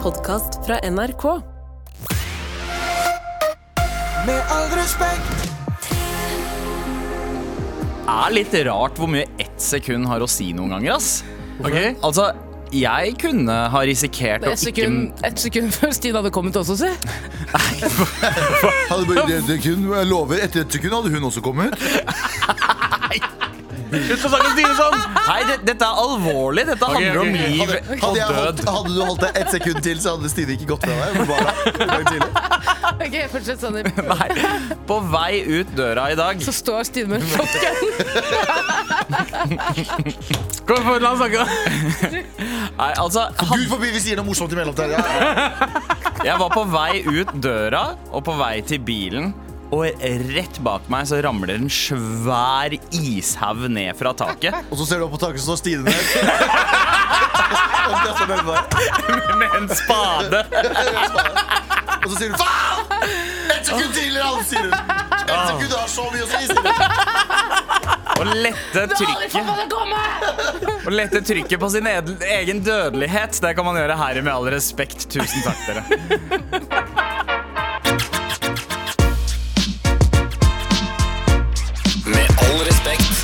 podkast fra NRK. Med all respekt, er litt rart hvor mye ett sekund har å si noen ganger, ass. Ok. Altså, jeg kunne ha risikert å Et sekund, et sekund før Stine hadde kommet også, se. Hadde bare, det, det kun, jeg lover, etter et sekund hadde hun også kommet ut. Slutt å snakke om Stine sånn! ikke Nei, det, dette er alvorlig. Dette handler ok. om liv. Hadde, hadde, jeg holdt, hadde du holdt deg ett sekund til, så hadde Stine ikke gått fra deg. Hun var der en gang tidlig. Ok, fortsett, Sandeep. Nei, på vei ut døra i dag Så står Stine med shotgun. Kom, få la oss snakke, da. Nei, altså, han, Gud forbi vi sier noe morsomt i mellomtiden. Ja, ja. jeg var på vei ut døra og på vei til bilen. Og rett bak meg så ramler en svær ishaug ned fra taket. Og så ser du opp på taket, så står Stine der. Og så kaster hun den på deg. Med en spade. Og så sier hun faen! Ett sekund tidligere, alle, sier hun. Ett sekund har så mye å si, sier hun. Og lette trykket Å lette trykket på sin edel- egen dødelighet. Det kan man gjøre her i Med all respekt. Tusen takk, dere. med all respekt,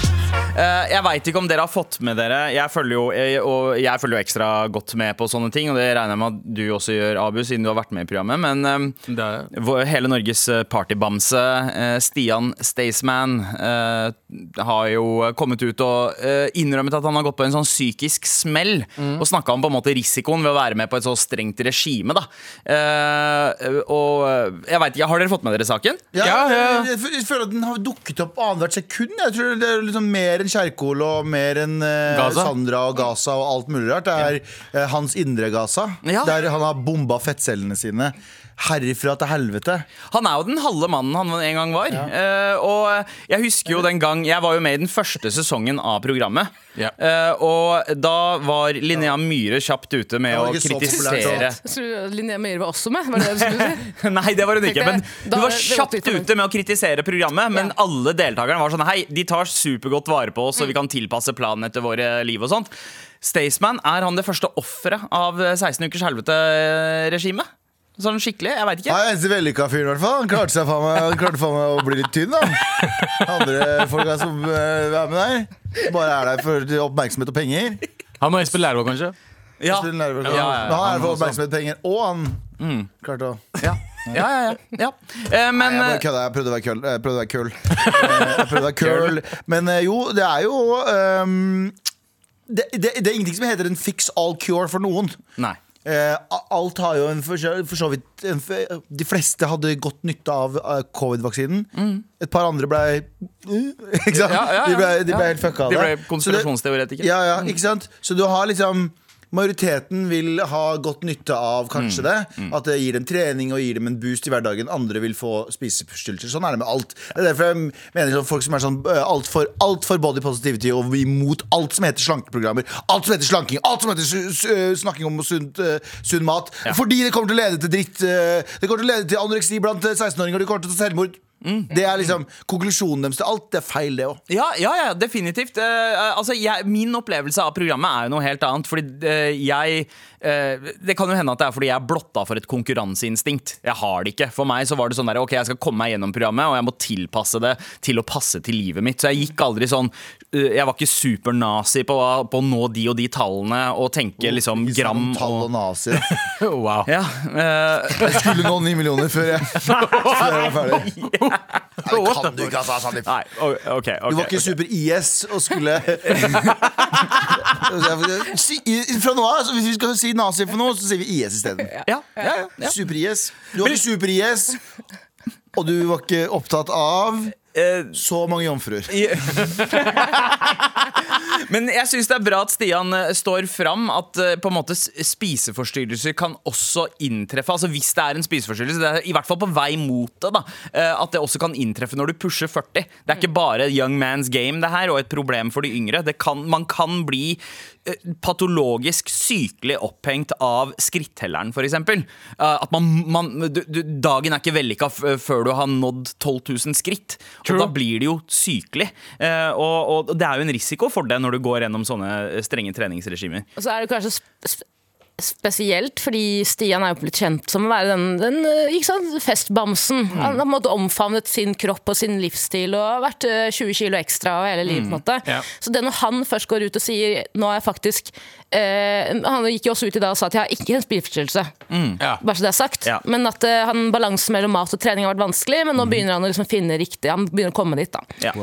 Eh, Jeg veit ikke om dere har fått med dere Jeg følger jo, jeg, og jeg følger jo ekstra godt med på sånne ting, og det regner jeg med at du også gjør, Abu, siden du har vært med i programmet. Men eh, Det er jeg. vår- hele Norges eh, partybamse, eh, Stian Staysman, eh, har jo kommet ut og eh, innrømmet at han har gått på en sånn psykisk smell. Mm. Og snakka om på en måte risikoen ved å være med på et så strengt regime, da. Eh, og eh, jeg veit ikke, har dere fått med dere saken? Ja, ja. Jeg, jeg, jeg føler at den har dukket opp annethvert sekund. Jeg tror det er liksom Mer enn Kjerkol og mer enn eh, Gaza. Sandra og Gaza og alt mulig rart. Det er eh, hans indre Gaza, Ja. der han har bomba fettcellene sine. Herifra til helvete. Han er jo den halve mannen han en gang var. Eh, og jeg husker jo den gang Jeg var jo med i den første sesongen av programmet. Ja. Eh, og da var Linnea Myhre kjapt ute med Det var å ikke så kritisere populært, Så Linnea Meyer var også med, var det det du skulle si? Nei, det var hun ikke. Tenkte jeg, Men da hun var er det kjapt relativt fornøyd. ute med å kritisere programmet. Ja. Men Mm. alle deltakerne var sånn Hei, de tar supergodt vare på oss, og vi kan tilpasse planen etter våre liv og sånt. Staysman, er han det første offeret av eh, 16 ukers helvete-regimet? Sånn skikkelig? Jeg veit ikke. Han er eneste vellykka fyren, i hvert fall. Han klarte seg faen meg, han klarte faen meg å bli litt tynn, da. Andre folka som eh, er med der, bare er der for oppmerksomhet og penger. Han og Espen Lærvold, kanskje? Ja. Spiller nerver, Ja, ja, ja. Men han er Han der for også. oppmerksomhet og penger, og han Mm. klarte å Ja, ja, ja. ja. Eh, men Nei, jeg bare eh, kødda. Jeg prøvde å være køl. Jeg prøvde å være køl. Eh, Jeg prøvde å være køl. Men eh, jo, det er jo ehm, det, det, det er ingenting som heter en fix all cure for noen. Nei. Eh, a- alt har jo en for, for så vidt en, f- De fleste hadde godt nytte av eh, covid-vaksinen. Et par andre blei Ikke sant? Mm. Ja, ja, ja. De blei de ble Ja. helt fucka av De det. ble Så det- konspirasjonsteoretikere. ja, ja, ikke sant? Så du har liksom Majoriteten vil ha godt nytte av kanskje det. At det gir dem trening og gir dem en boost i hverdagen. Andre vil få spiseforstyrrelser. Sånn er det med alt. Det er derfor jeg mener sånn folk som er sånn eh, altfor alt for body positivity og imot alt som heter slankeprogrammer, alt som heter slanking, alt som heter su- su- eh, snakking om sunt, eh, sunn mat. Fordi det kommer til å lede til dritt. eh, det kommer til å lede til anoreksi blant eh, 16-åringer, det kommer til å ta selvmord. Det er liksom konklusjonen deres til alt. Det er feil, det òg. Ja, ja, ja, definitivt. Eh, altså, jeg, min opplevelse av programmet er jo noe helt annet. Fordi eh, jeg eh, Det kan jo hende at det er fordi jeg er blotta for et konkurranseinstinkt. Jeg har det ikke. For meg så var det sånn der, ok, jeg skal komme meg gjennom programmet, og jeg må tilpasse det til å passe til livet mitt. Så jeg gikk aldri sånn eh, Jeg var ikke supernazi på, på å nå de og de tallene og tenke liksom Ikke gram sånn Tall og og nazi. Wow. ja, eh, Jeg skulle nå ni millioner før jeg, før jeg var ferdig. Nei, det kan du ikke, altså, Sandeep. Nei, o- ok. ok, Du var ikke ok. super-IS og skulle Si- i- Fra nå av, altså, hvis vi skal si nazi for noe, så sier vi IS isteden. Ja, ja, ja, ja. Super-IS. Du var ikke super-IS, og du var ikke opptatt av Eh, så mange jomfruer. Men jeg syns det er bra at Stian eh, står fram at eh, på en måte s- spiseforstyrrelser kan også inntreffe. Altså Hvis det er en spiseforstyrrelse, det er i hvert fall på vei mot det, da. eh, At det også kan inntreffe når du pusher 40. Det er ikke bare young man's game det her, og et problem for de yngre. Det kan, man kan bli eh, patologisk sykelig opphengt av skrittelleren, f.eks. Eh, At man, man du, du, Dagen er ikke vellykka f før du har nådd 12 000 skritt. Og da blir det jo sykelig. Eh, og, og det er jo en risiko for det når du går gjennom sånne strenge eh, treningsregimer. Og så er det kanskje sp- sp- spesielt, fordi Stian er jo blitt kjent som å være den, den eh, ikke sant, festbamsen. Han har på en måte omfavnet sin kropp og sin livsstil og har vært eh, 20 kilo ekstra og hele livet. på en måte. Ja. Så det når han først går ut og sier nå er jeg faktisk eh, Han gikk jo også ut i dag og sa at jeg har ikke en spiseforstyrrelse. Ja. Bare så det er sagt. Ja. Men at eh, han, balansen mellom mat og trening har vært vanskelig, men nå begynner han å liksom finne riktig. Han begynner å komme dit, da. Ja.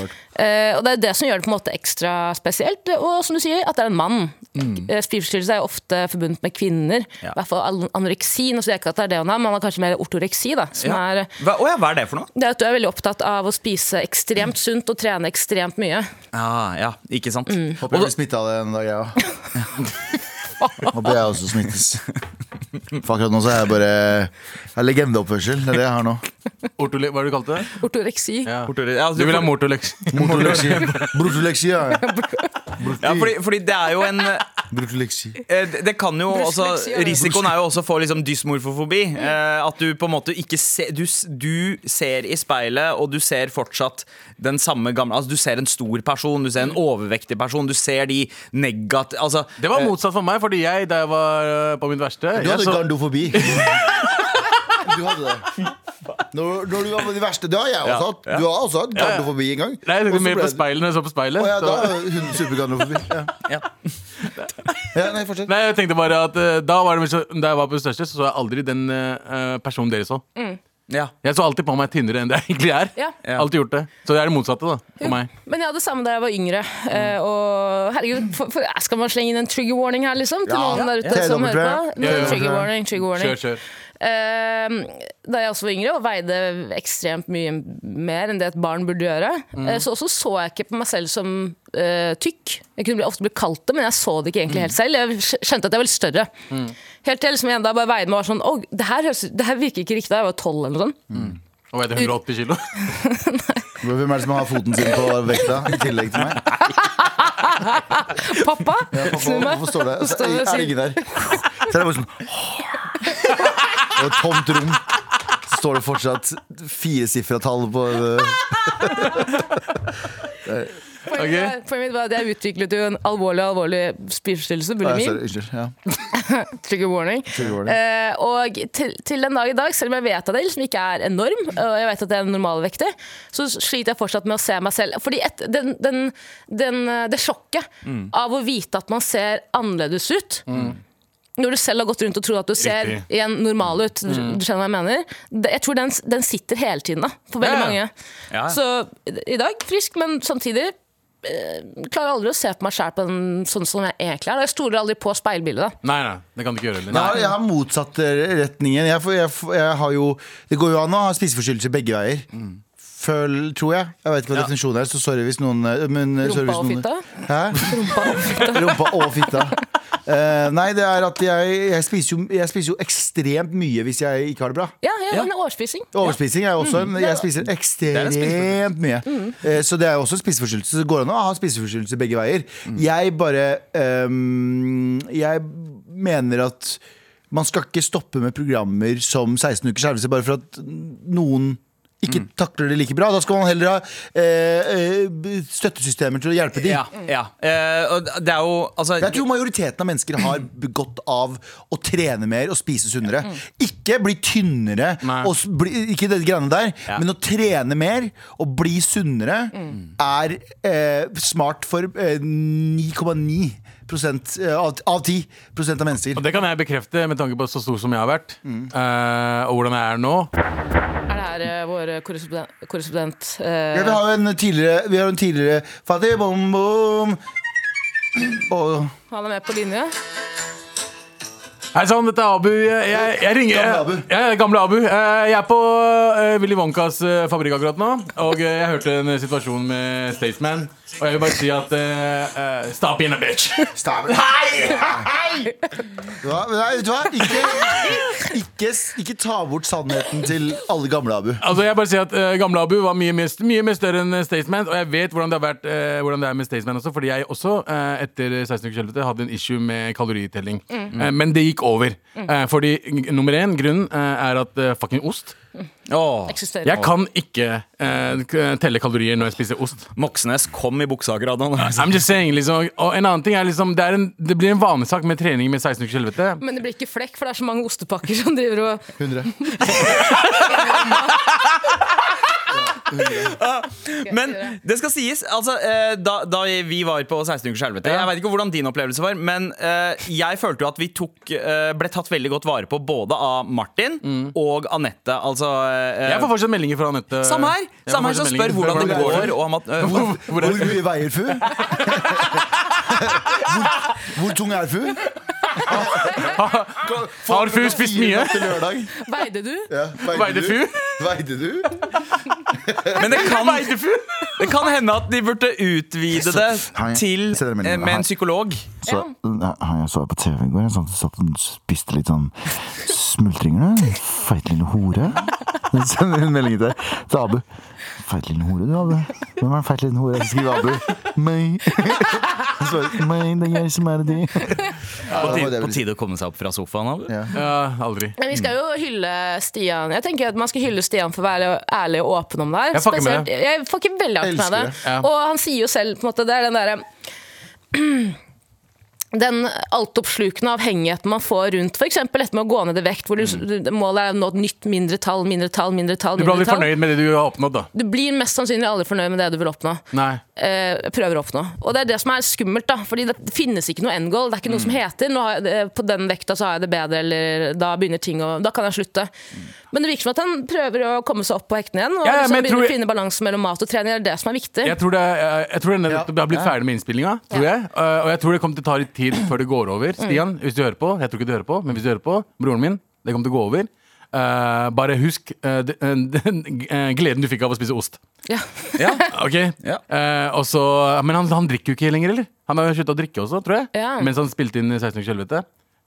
Eh, og det er det som gjør det på en måte ekstra spesielt. Og som du sier, at det er en mann. Mm. Spiseforstyrrelser er jo ofte forbundet med kvinner. Ja. I hvert fall an- anoreksi. Nå sier jeg ikke at det er det hun har, men han har kanskje mer ortoreksi. da som Ja. er, eh, Hva, åja, hva er det for noe? det er at du er veldig opptatt av å spise ekstremt sunt og trene ekstremt mye. Ja, Ah, ja, ikke sant? Mm. Håper jeg blir smitta av det en dag, jeg òg. Håper jeg også smittes. For akkurat nå så er jeg bare Jeg har legendeoppførsel. Det er det jeg har nå. Ortole hva er det du kalte det? Ortoreksi. Ja. Ortole- ja, altså, Du vil ha mortolex. Motoleksi. Brutoleksi, ja. Ja, fordi, fordi det er jo en eh, Brutoleksi. det, det kan jo også, Dysleksi, ja. Risikoen er jo også å få liksom dysmorfofobi. eh, At du på en måte ikke ser du, s- du ser i speilet, og du ser fortsatt den samme gamle Altså Du ser en stor person, du ser en overvektig person, du ser de negat... Altså, Det var motsatt for meg, fordi jeg, da jeg var øh, på mitt verste Du jeg hadde så, gardofobi. Du hadde det. Når, når du var på de verste Det har jeg også hatt. Du har også hatt gardofobi en gang. Nei, jeg tenkte Og så mer ble på det- speilene. Jeg så på speilet. Å ja, da så- er hun supergardofobi. Ja. Ja. ja, nei, fortsett. Nei, jeg tenkte bare at øh, Da, var det, mer så- da jeg var på det største, så så jeg aldri den øh, personen dere så. ja. Jeg så alltid på meg tynnere enn det jeg egentlig er. Ja. Ja. Alltid gjort det Så det er det motsatte, da. For meg. Men jeg hadde det samme da jeg var yngre. eh, Og herregud, for, for, skal man slenge inn en trigger warning her, liksom? Til Ja. noen der ute Ja. som hører TW. på? Ja, ja. Trigger warning, trigger warning. Kjør, kjør. Eh, da jeg også var yngre og veide ekstremt mye mer enn det et barn burde gjøre, eh, så også så jeg ikke på meg selv som eh, tykk. Jeg kunne bli, ofte bli kalt det, men jeg så det ikke egentlig helt selv. Jeg skj- skjønte at jeg var litt større. Helt til liksom, jeg en dag bare veide meg og var sånn Å, det her, høres, det her virker ikke riktig. da Jeg var tolv eller noe sånt. Og veide 180 kilo. Hvem er det som har foten sin på vekta i tillegg til meg? Pappa! snu Hvorfor, meg. hvorfor står det? Og så Står det og er er det ingen der. Så er det bare sånn Og et tomt rom. Så står det fortsatt firesifra tall på Poenget var- Poenget mitt var at jeg utviklet jo en alvorlig alvorlig spiseforstyrrelse, Nei, bulimi. sorry, Unnskyld. Ja. Trigger warning. Trigger warning. Eh, og til, til den dag i dag, selv om jeg vet at jeg liksom ikke er enorm, og jeg vet at jeg er normalvektig, så sliter jeg fortsatt med å se meg selv. Fordi et, den, den, den, eh, det sjokket av å vite at man ser annerledes ut Når du selv har gått rundt og trodd at du ser Riktig. igjen normal ut. Du, du skjønner hva jeg mener? Det, jeg tror den, den sitter hele tiden, da, for veldig Ja, ja. mange. Ja, ja. Så i- i dag frisk, men samtidig eh, klarer aldri å se på meg sjæl sånn som jeg egentlig er. da. Jeg stoler aldri på speilbildet. da Nei, nei, det kan du ikke gjøre heller. Jeg har, jeg har motsatt eh, retningen. Jeg, får- jeg, får- jeg har jo, det går jo an å ha spiseforstyrrelser begge veier. Føl, tror jeg. Jeg vet ikke hva definisjonen er, så sorry hvis noen eh, men, eh, sorry Rumpa hvis og noen- fitta? Hæ? Rumpa og fitta. Eh, nei, det er at jeg, jeg, spiser jo, jeg spiser jo ekstremt mye hvis jeg ikke har det bra. Ja, ja, men det er overspising. Overspising er jo også en Jeg spiser ekstremt mye. Eh, Så det er jo også en spiseforstyrrelse. Så det går an å ha spiseforstyrrelse begge veier. Jeg bare ehm, Jeg mener at man skal ikke stoppe med programmer som 16 ukers helvete bare for at noen ikke takler det like bra. Da skal man heller ha eh, eh, støttesystemer til å hjelpe dem. ja, ja. Eh, og det er jo altså, Jeg tror majoriteten av mennesker har godt av å trene mer og spise sunnere. Ikke bli tynnere, Mm. Nei. og s- bli, ikke det greiene der, Ja. men å trene mer og bli sunnere Mm. er eh, smart for eh, 9,9 prosent, eh, av, av 10 prosent av mennesker. Og det kan jeg bekrefte med tanke på så stor som jeg har vært, Mm. eh, og hvordan jeg er nå. Er det her eh, vår korrespondent, korrespondent Ja, eh, vi har jo en tidligere, vi har en tidligere Fatih bom bom og, Han er med på linje? Hei sann, dette er Abu. Jeg, jeg, jeg ringer Gamle Abu. Jeg, jeg, er gamle Abu. Eh, Jeg er på eh, Willy Wonkas eh, fabrikk akkurat nå. Og eh, jeg hørte en eh, situasjon med Staysman. Og jeg vil bare si at eh, eh, Stop in a bitch. Stabel. Hei! Hei! Vet du hva? Nei, vet du hva? Ikke, ikke, ikke ta bort sannheten til alle gamle Abu. Altså jeg bare sier at eh, Gamle Abu var mye, mer- mye mer større enn eh, Staysman. Og jeg vet hvordan det, har vært, eh, hvordan det er med Staysman også, fordi jeg også eh, etter 16 ukers helvete hadde en issue med kaloritelling. Eh, men det gikk over. Eh, fordi g- nummer én, grunnen eh, er at eh, fucking ost. Åh, Eksisterer. Jeg kan ikke eh, k- telle kalorier når jeg spiser ost. Moxnes kom i buksa akkurat nå. I'm just saying, liksom. Og en annen ting er liksom Det, er en, det blir en vanesak med trening med 16 ukers helvete. Men det blir ikke flekk, for det er så mange ostepakker som driver og 100. Men det skal sies, altså, eh, da, da vi var på 16 ukers helvete Jeg vet ikke hvordan din opplevelse var, men eh, jeg følte jo at vi tok, eh, ble tatt veldig godt vare på både av Martin og Anette. Altså eh, Mm. Jeg får fortsatt meldinger fra Anette. Samme her! Jeg får Samme her fortsatt som spør meldinger. hvordan det Hvordan går. Og om at, eh, Hvor, hvor er Hvor mye veier fu? Hvor, hvor tung er fu? Har fu spist mye? Til lørdag. Veide du? Ja, Veide fu? Veide du? men det kan, det kan hende at de burde utvide det Hei. til Send dere eh, meldingen. med en Hei. psykolog. Så, ja, jeg så på TV i går. Jeg satt, satt og spiste litt sånn smultringer. da. Feit lille hore. Hun sender en melding til, til Abu. Feit lille hore, du, Abu. Hvem er den feit lille hore? Så skriver Abu meg. Han svarer meg, det er jeg som er de. På det var det tide, vi- på tide å komme seg opp fra sofaen. Abu. Ja, aldri. Men vi skal jo hylle Stian. Jeg tenker at Man skal hylle Stian for å være ærlig og åpen om det her. Jeg fucker med Spesielt- Jeg fucker veldig hardt med Elsker det. det. Ja. Og han sier jo selv på en måte, Det er den derre den altoppslukende avhengigheten man får rundt f.eks. dette med å gå ned i vekt, hvor du, du- målet er å nå et nytt mindre tall, mindre tall, mindre tall. Mm. Du blir mindre aldri tall. fornøyd med det du har oppnådd, da. Du blir mest sannsynlig aldri fornøyd med det du vil oppnå. Nei. eh, prøver å oppnå. Og det er det som er skummelt, da. Fordi det finnes ikke noe end goal. Det er ikke noe Mm. som heter nå har jeg, det- på den vekta så har jeg det bedre, eller da begynner ting å Da kan jeg slutte. Men det virker som at han prøver å komme seg opp på hektene igjen. Og Mm. Ja, ja, liksom men jeg begynner tror- å finne balansen mellom mat og trening. Det er det som er viktig. Jeg tror det, jeg, jeg tror det nettopp har blitt ferdig med innspillinga, tror jeg. Eh, Og jeg tror det kommer til å ta litt tid før det går over. Mm. Stian, hvis du hører på, jeg tror ikke du hører på, men hvis du hører på, broren min, det kommer til å gå over. Eh, bare husk eh, d- den eh, gleden du fikk av å spise ost. Ja. Ja. Ok, Eh, og så- Men han, han drikker jo ikke lenger, eller? Han har jo sluttet å drikke også, tror jeg. Ja. Mens han spilte inn 16 ukers helvete.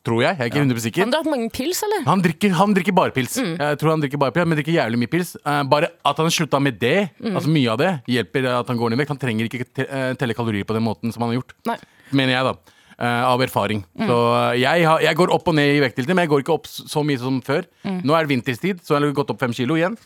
Tror jeg. Jeg er ikke 100 sikker. Han Mm. drakk mange pils, eller? Han drikker, han drikker bare pils. Jeg tror han drikker bare pils, men drikker jævlig mye pils. Eh, bare at han slutta med det, Mm. altså mye av det, hjelper at han går ned i vekt. Han trenger ikke te eh, telle kalorier på den måten som han har gjort. Nei. Mm. Mener jeg, da. Eh, av erfaring. Så eh, jeg, har, jeg går opp og ned i vekt, litt, men jeg går ikke opp s- så mye som før. Mm. Nå er det vinterstid, så jeg har gått opp fem kilo igjen.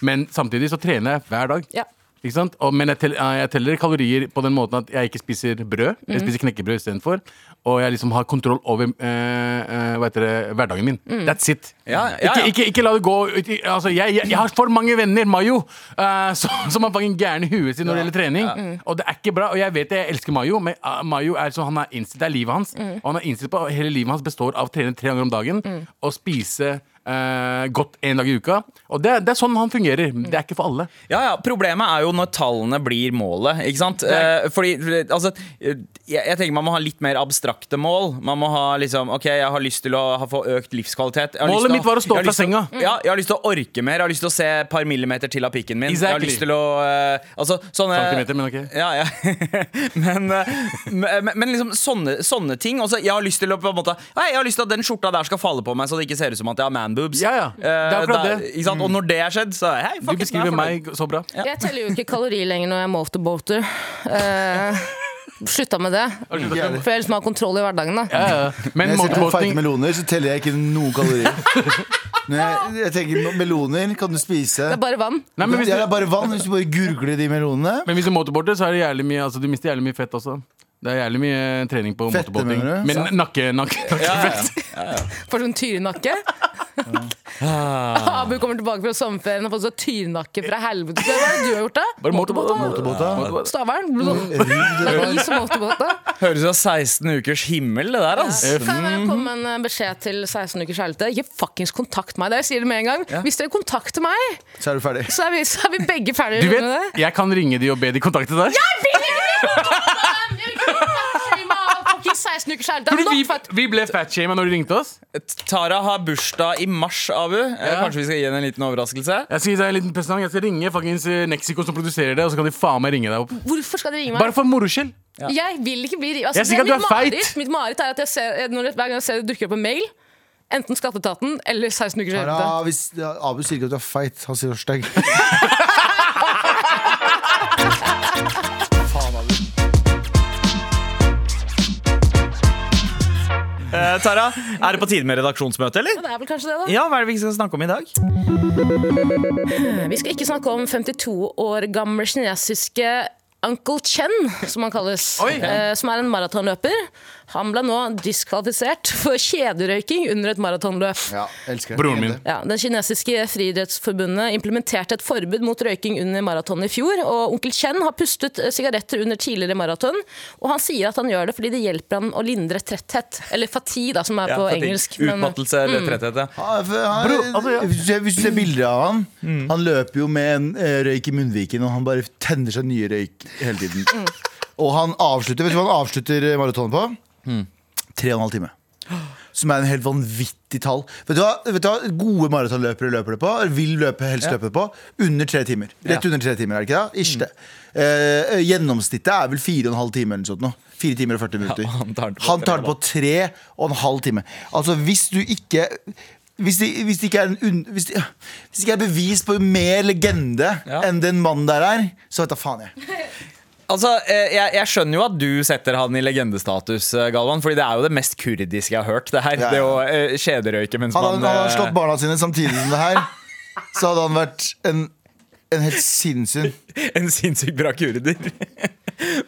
Men samtidig så trener jeg hver dag. Ja. Ikke sant? Og, men jeg, tell, eh, jeg teller kalorier på den måten at jeg ikke spiser brød. Jeg spiser knekkebrød istedenfor. Og jeg liksom har kontroll over eh, eh, hva heter det, hverdagen min. That's it. Ja, ja, ja. Ikke, ikke, ikke la det gå ut i altså, jeg, jeg, jeg har for mange venner, Mayo, eh, som, som er fucking gæren i huet sitt når det gjelder trening. Og det er ikke bra. Og jeg vet det, jeg elsker Mayo, men eh, Mayo er sånn, han er innstilt, det er livet hans. Og han er innstilt på at hele livet hans består av å trene tre ganger om dagen og spise eh, godt én dag i uka. Og det, er- det er sånn han fungerer. Det er ikke for alle. Ja, ja, Problemet er jo når tallene blir målet. ikke sant? Eh, fordi, altså, eh, jeg, jeg tenker Man må ha litt mer abstrakte mål. Man må ha liksom, ok, Jeg har lyst til å ha, få økt livskvalitet. Jeg har Målet lyst til mitt var å stå jeg har opp lyst fra til å- senga. Ja, Jeg har lyst til å orke mer. Jeg har lyst til å se et par millimeter til av pikken min. Jeg har Exactly. lyst til å... eh, altså, sånne... Centimeter, men ok. Ja, ja. men, eh, men, men liksom sånne, sånne ting. Også, jeg har lyst til å på en måte, Nei, jeg har lyst til at den skjorta der skal falle på meg, så det ikke ser ut som at jeg har manboobs. Ja, ja. Det er akkurat det. Mm. Ikke sant? Og når det har skjedd, så hei, Du fuck it, nå er jeg beskriver fornøyd. meg så bra. Har Jeg teller jo ikke kalori lenger når jeg er motorboater. Uh, slutta med det. du sluttet å- For jeg liksom har kontroll i hverdagen. da Ja, ja. Men Når jeg sitter og motorboating fighter meloner, så teller jeg ikke noen kalorier. Når jeg, jeg tenker meloner kan du spise. Det er bare vann. Nei, men hvis det du, er bare vann hvis du bare gurgler de melonene. men hvis du motorboarder, så er det jævlig mye altså, Du mister jævlig mye fett også. Det er jævlig mye trening på Fette, motorboating. mener du? Men nakke, nakke, nakke. Ja, ja, ja. Får sånn tyrenakke. Abu kommer tilbake fra sommerferien og får sånn tyrenakke fra helvete. Hva er det du har gjort, da? Bare motorbåt, da. Motorbåta. Stavern? Sånn Rygg, is og motorbåt, da? Høres ut som 16 ukers himmel, det der, altså. Kan jeg bare komme med en eh, beskjed til 16 ukers kjærlighet? Ikke fuckings kontakt meg. Det jeg sier det med en gang. Hvis dere kontakter meg, Så er du ferdig. så er vi, så er vi begge ferdige Du med det. vet, jeg kan ringe de og be de kontakte deg. Fuckings 16 ukers kjærlighet. Det Fordi er vi, nok for at vi ble fatshama når de ringte oss. Eh, Tara har bursdag i mars, Abu. Eh, Ja. Kanskje vi skal gi henne en liten overraskelse? Jeg skal gi deg en liten presang. Jeg skal ringe fuckings eh, Nexiko som produserer det, og så kan de faen meg ringe deg opp. Hvorfor skal dere ringe meg? Bare for moro skyld. Jeg vil ikke bli altså, Jeg sier ikke det at du mitt er feit. mareritt. Mitt mareritt er at jeg ser, når, hver gang jeg ser det dukker opp en mail, enten Skatteetaten eller 16 ukers kjærlighet. Ja, hvis, ja, Abu sier ikke at du er feit. Han sier du er stygg. Eh, Eh, Tara, er det på tide med redaksjonsmøte, eller? Det er vel kanskje det, da. Ja, hva er det vi skal snakke om i dag? Vi skal ikke snakke om 52 år gamle kinesiske Uncle Chen, som han kalles. Oi. eh, Som er en maratonløper. Han ble nå diskvalifisert for kjederøyking under et maratonløp. Ja, elsker det. Broren min. Ja, Den kinesiske friidrettsforbundet implementerte et forbud mot røyking under maraton i fjor. og Onkel Chen har pustet eh, sigaretter under tidligere maraton. Og han sier at han gjør det fordi det hjelper han å lindre tretthet. Eller fatigue, da, som er på fatigue. engelsk. men- Mm. Utmattelse eller tretthet. ja. Han, han, Bro, altså, ja. hvis, du ser, hvis du ser bilder av han Mm. Han løper jo med en eh, røyk i munnviken, og han bare tenner seg nye røyk hele tiden. Og han avslutter Vet du hva han avslutter maratonet på? Mm. Tre og en halv time. Som er en helt vanvittig tall. Vet du hva, vet du hva gode maratonløpere løper det på? eller Vil løpe helst løpe det på? Under tre timer. Rett under tre timer, er det ikke det? Mm. Ish det. Eh, gjennomsnittet er vel fire og en halv time eller noe sånt. nå. Fire timer og 40 minutter. han tar den på Han tre tar det på tre og en halv time. Altså, hvis du ikke hvis det, hvis det ikke er en un, hvis, det, hvis det ikke er bevis på mer legende Ja. enn den mannen der er, så vet da faen jeg. Altså, eh, jeg, jeg skjønner jo at du setter han i legendestatus, eh, Galvan. Fordi det er jo det mest kurdiske jeg har hørt. Det her, Ja, ja. det å eh, kjederøyke mens Han hadde, man han hadde eh, slått barna sine samtidig som det her. Så hadde han vært en, en helt sinnssyn. En sinnssykt bra kurder.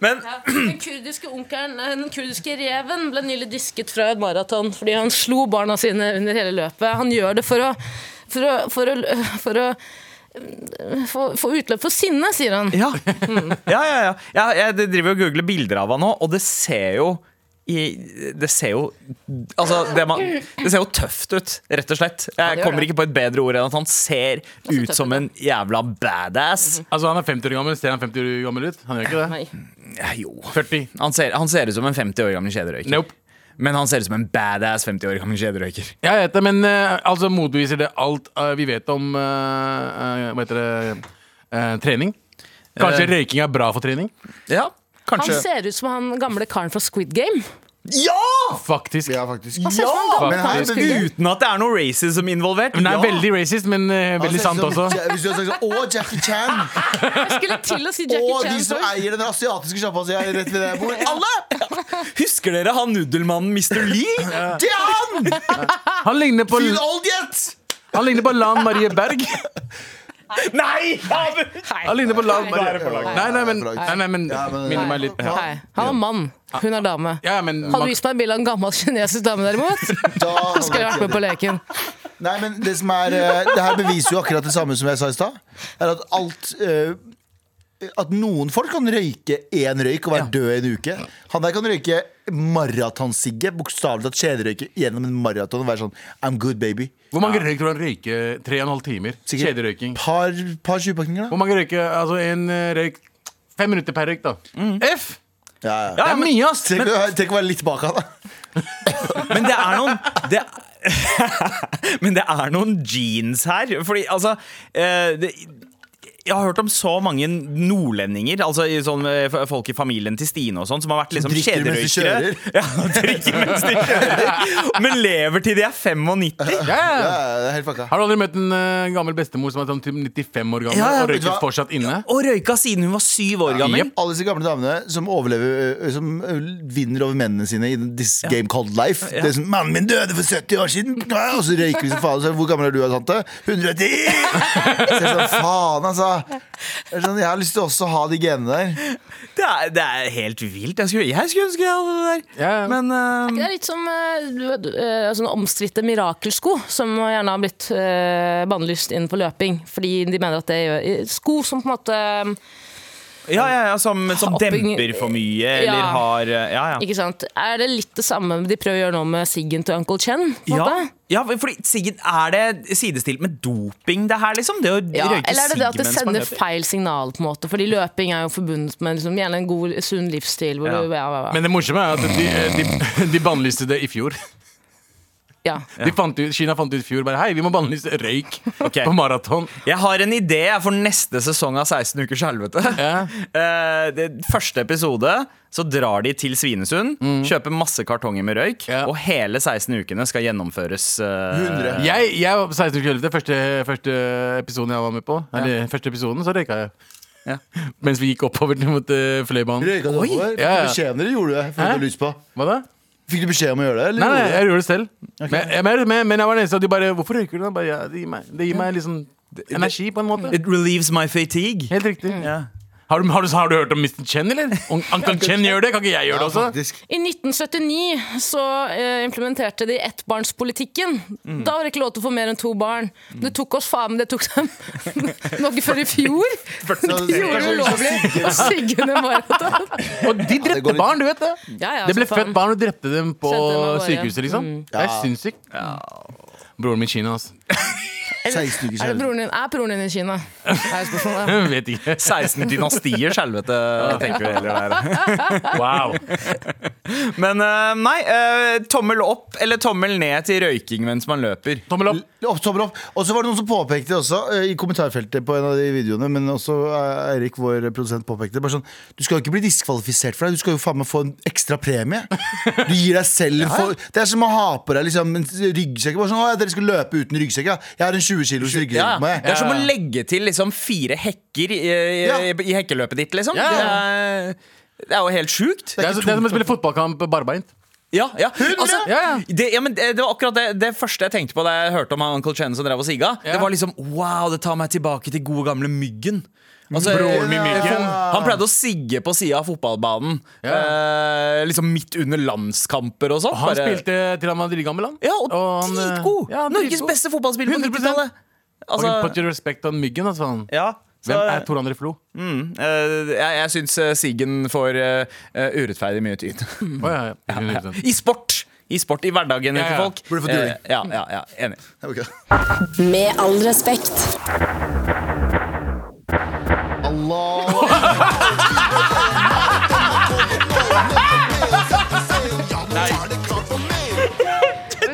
Men Ja, Den kurdiske onkelen, eh, den kurdiske reven ble nylig disket fra et maraton fordi han slo barna sine under hele løpet. Han gjør det for å, for å, for å, for å eh, få- få utløp for sinne, sier han. ja. ja, ja, ja. ja jeg driver og googler bilder av han nå, og det ser jo i, det ser jo Altså, det, man, det ser jo tøft ut, rett og slett. Jeg gjør kommer det. Altså, ikke på et bedre ord enn at han ser ut tøff som en jævla badass. Mhm. Altså, han er 50 år gammel. Ser han 50 år gammel ut? Han gjør ikke det. Nei. Ja, jo. 40. Han ser, han ser ut som en 50 år gammel kjederøyker. Nope. Men han ser ut som en badass 50 år gammel kjederøyker. Jeg vet det, men eh, altså motbeviser det alt eh, vi vet om eh, eh, Hva heter det eh, trening? Kanskje Eh. røyking er bra for trening? Ja, Han kanskje. ser ut som han gamle karen fra Squid Game. Ja! Faktisk. Ja, faktisk. Han ser ut som han gamle men karen her- fra Squid Game. Uten at det er noe racism involvert. Hun er ja. veldig racist, men eh, veldig sant Altså, også. som- Hvis du hadde sagt sånn Å, Jackie Chan! Jeg skulle til å si Jackie Og de Chan. som sorry. eier den asiatiske sjappa si her rett ved det bordet. Alle! Husker dere han nudelmannen Mr. Lee? Det er han! Han ligner på, Fin old yet! han ligner på Lan Marie Berg. Nei! Han ligner på Lan Nei, Marie Nei, nei, men, nei, nei, men minner meg litt ja. Nei, han er mann, hun er dame. ja, men Hadde du Max, vist meg et bilde av en gammel kinesisk dame, derimot, så Da skulle jeg vært med på leken. Nei, men det som er eh, Det her beviser jo akkurat det samme som jeg sa i stad. Er at alt eh, At noen folk kan røyke én røyk og være død i en uke. Han der kan røyke maratonsigge, bokstavelig talt kjederøyke gjennom en maraton og være sånn I'm good, baby. hvor mange røyk tror du han røyker? Tre og en halv timer. Sikkert. Kjederøyking. Par, par 20-pakninger, da. Hvor mange røyker? Altså en eh, røyk Fem minutter per røyk, da. F! Ja, Det ja. er mye, ass! Tenk, å- tenk å være litt bak han, da. Men det er noen det, Men det er noen jeans her. Fordi altså eh, det, jeg har hørt om så mange nordlendinger, altså i sånn, eh, folk i familien til Stine og sånn, som har vært liksom drikker mens de kjederøykere. Ja, drikker mens de kjører. Men lever til de er 95. Ja, ja. Ja, det er helt fucka. Har du aldri møtt en eh, gammel bestemor som er sånn typ 95 år gammel Ja, ja, og vet du røyker hva? fortsatt inne? Og røyka siden hun var syv år gammel. Alle disse gamle damene som overlever ø, Som ø, vinner over mennene sine i this game called life. Det er sånn 'Mannen min døde for 70 år siden!' Ja, Og så røyker vi som faen. Så, 'Hvor gammel er du, da, tante?' 110! Så jeg er sånn, faen, altså. Jeg, er sånn, jeg har lyst til også å ha de genene der. Det er, det er helt vilt. Jeg skulle, jeg skulle ønske jeg hadde det der. Ja, ja. Men Det eh, er litt som eh, du vet, eh, altså den omstridte mirakelsko, som gjerne har blitt eh, bannlyst innenfor løping. Fordi de mener at det gjør Sko som på en måte ja, ja, ja, som, som Hopping- demper for mye, eller Ja. har eh, Ja, ja. Ikke sant. Er det litt det samme de prøver å gjøre nå med siggen til Uncle Chen? På en Ja, måte? ja, fordi Siggen, Er det sidestilt med doping, det her, liksom? Det å Ja, røyke eller er det det at det sigg mens man sender løper? feil signal, på en måte? Fordi løping er jo forbundet med liksom, gjerne en god, sunn livsstil. Hvor Ja. Du, ja, ja, ja. Men det morsomme er at de, eh, de, de bannlyste det i fjor. ja. De fant ut, Kina fant ut i fjor bare Hei, vi må bannlyse røyk Ok. på maraton. Jeg har en idé for neste sesong av 16 ukers helvete. Ja. Eh, det første episode så drar de til Svinesund, Mm. kjøper masse kartonger med røyk, Ja. og hele 16 ukene skal gjennomføres. eh, 100. Jeg, jeg var på 16 uker eldre, første, første episoden jeg var med på. Eller første episoden, så røyka jeg. Ja. Mens vi gikk oppover mot eh, Fløibanen. Røyka du oppover? ja, ja. Fortjener det, gjorde du det. For Hæ? å få lys på. Hva da? Fikk du beskjed om å gjøre det? Eller? Nei, nei, gjorde du det? jeg gjorde det selv. Men, jeg, men- men, men jeg var den eneste, og de bare 'Hvorfor røyker du?' da?" Jeg Bare, ja, det gir meg, det gir meg liksom energi, på en måte. It relieves my fatigue. Helt riktig. Har, du, har, du, har du hørt om Mr. Chen, eller? Om Mm. Uncle Chen gjør det, kan ikke jeg gjøre det også? Faktisk. I 1979 så eh, implementerte de ettbarnspolitikken. Da var det ikke lov til å få mer enn to barn. Det tok oss faen meg Det tok dem nok før i fjor. Så, De gjorde det ulovlig å sigge under maraton. Og de det går drepte litt- barn, du vet det! Ja, ja, Det ble så faen. født barn og drepte dem på Sendte dem av gårde. sykehuset, liksom. Det er sinnssykt. Broren min i Kina, altså. Er, 16 uker det siden. broren din, er broren din i Kina? Er spørsmålet. Mm. Jeg vet ikke. 16 dynastier, skjelvete, tenker vi heller der. Wow. Men eh, nei, eh, tommel opp eller tommel ned til røyking mens man løper. Tommel opp. Opp, tommel opp. Og så var det noen som påpekte det også, eh, i kommentarfeltet på en av de videoene, men også eh, Eirik, vår produsent, påpekte det. Bare sånn, du skal jo ikke bli diskvalifisert for deg, du skal jo faen meg få en ekstra premie. Du gir deg selv en for Det er som å ha på deg liksom, en ryggsekk. Bare sånn, å, ja, dere skal løpe uten ryggsekk, ja. Jeg har en 20 kilos ryggsekk Ja, på meg. Det er som å legge til liksom fire hekker i, i, Ja. i hekkeløpet ditt, liksom. Ja. Det, er, det er jo helt sjukt. Det er, så- det er som å spille fotballkamp barbeint. Ja, ja. Altså, Ja, ja. Det, ja men det, det var akkurat det, det første jeg tenkte på da jeg hørte om han Uncle Chen som drev og sigga. Ja. Det var liksom wow, det tar meg tilbake til gode gamle Myggen. Altså, Broren min, Myggen. eh, Han pleide å sigge på sida av fotballbanen. Eh, liksom midt under landskamper og sånn. Han Bare- spilte til han var dritgammel, han. Ja, og, han, eh, dritgod! ja, Norges dritgod. beste fotballspiller på 100%. 90-tallet. Altså, Put your respect on myggen, altså. faen. ja, så, Hvem er Tor André Flo? eh, jeg jeg syns eh, Siggen får eh, eh, urettferdig mye tyn. Å, ja, ja. 100%. I sport! I sport, i hverdagen Ja, ja. til folk. Burde fått juling. Eh, ja, ja, ja, enig. Ok. Med all respekt. Allah.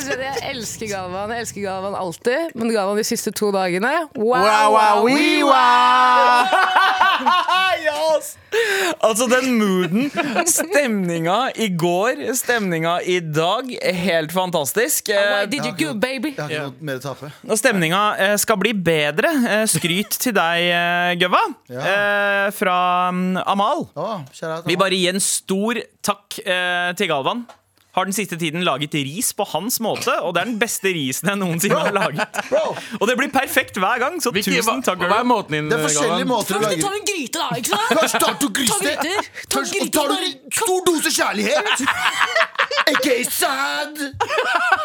Jeg elsker Galvan jeg elsker Galvan alltid, men Galvan de siste to dagene Wow, Wow, wow, wee, wow. yes! Altså den mooden, stemninga i går, stemninga i dag, helt fantastisk. Eh, Did you go, baby? Jeg har ikke noe mer å tape. Og stemninga eh, skal bli bedre. Eh, Skryt til deg, eh, Gøva, eh, fra mm, Amal. Å, kjære Vi bare gir en stor takk eh, til Galvan. Har den siste tiden laget ris på hans måte, og det er den beste risen jeg noensinne har laget. Og det blir perfekt hver gang, så Hvilke- tusen takk. Hva hva er Gøran. måten din, Det er forskjellige Galvan? måter å Først du lage tar en gryte, da. ikke sant? Først tar du gryte, Ta gryter. Ta først- og gryter, tar du bare- en stor dose kjærlighet. Ikke sad!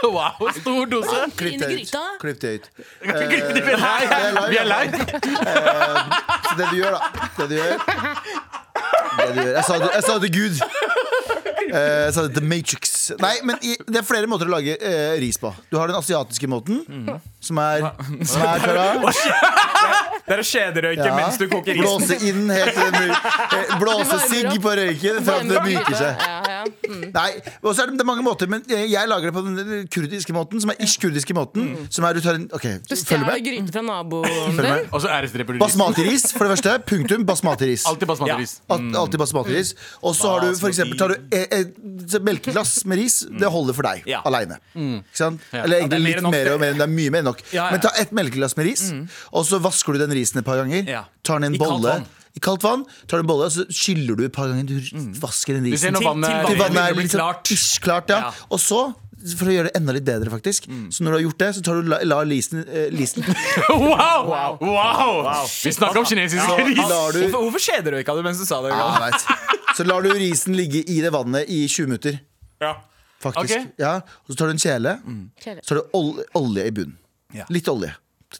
Wow, stor dose. Klipp Inn i det ut. gryta. Klipp det ut. Eh, Nei, vi er lei. altså. Så det du gjør, da Det du gjør det du gjør. Jeg, sa det, jeg sa det til Gud. Eh, Jeg sa det til Matrix. Nei, men i, Det er flere måter å lage eh, ris på. Du har den asiatiske måten, som er, som er Tara, Det er å kjederøyke ja. mens du koker risen. Blåse inn helt til den eh, Blåse sigg på røyken fram til det myker seg. Ja, ja. Nei, og så er det, det er mange måter, men jeg jeg lager det på den kurdiske måten, som er ish-kurdiske måten. Mm. Som er du tar en, ok, Du følg stjeler med. gryte fra naboen din. Og så æresdreper du ris. Basmati-ris, for det første. Punktum. Basmati-ris. Alltid basmati-ris. Alt- Alltid basmati-ris. Og så har du for eksempel, tar du et, et melkeglass med ris. Det holder for deg Mm. Ja. Mm. aleine. Ikke sant? Eller Ja, det er egentlig mer litt enn nok, mer det. og mer. Det er mye mer enn nok. Ja, ja. Men ta et melkeglass med ris, og så vasker du den risen et par ganger. Ja. Tar den i I en kaldt bolle. vann. I kaldt vann. Tar du en bolle, og så skyller du et par ganger. Du Mm. vasker den Du ser risen. når Til- vannet til Til vannet er Det blir litt sånn klart. ish klart ja. Ja. Og så, for å gjøre det enda litt bedre, faktisk Så når du har gjort det, så tar du la, la lisen, eh, lisen Wow! Wow! Vi snakker om kinesiske ris. lar du, Hvorfor, hvorfor kjederøyka du mens du sa det? ja, Gøran? jeg vet. Så lar du risen ligge i det vannet i 20 minutter Faktisk Ok. ja. Og så tar du en kjele Så tar du ol olje i bunnen Ja. Litt olje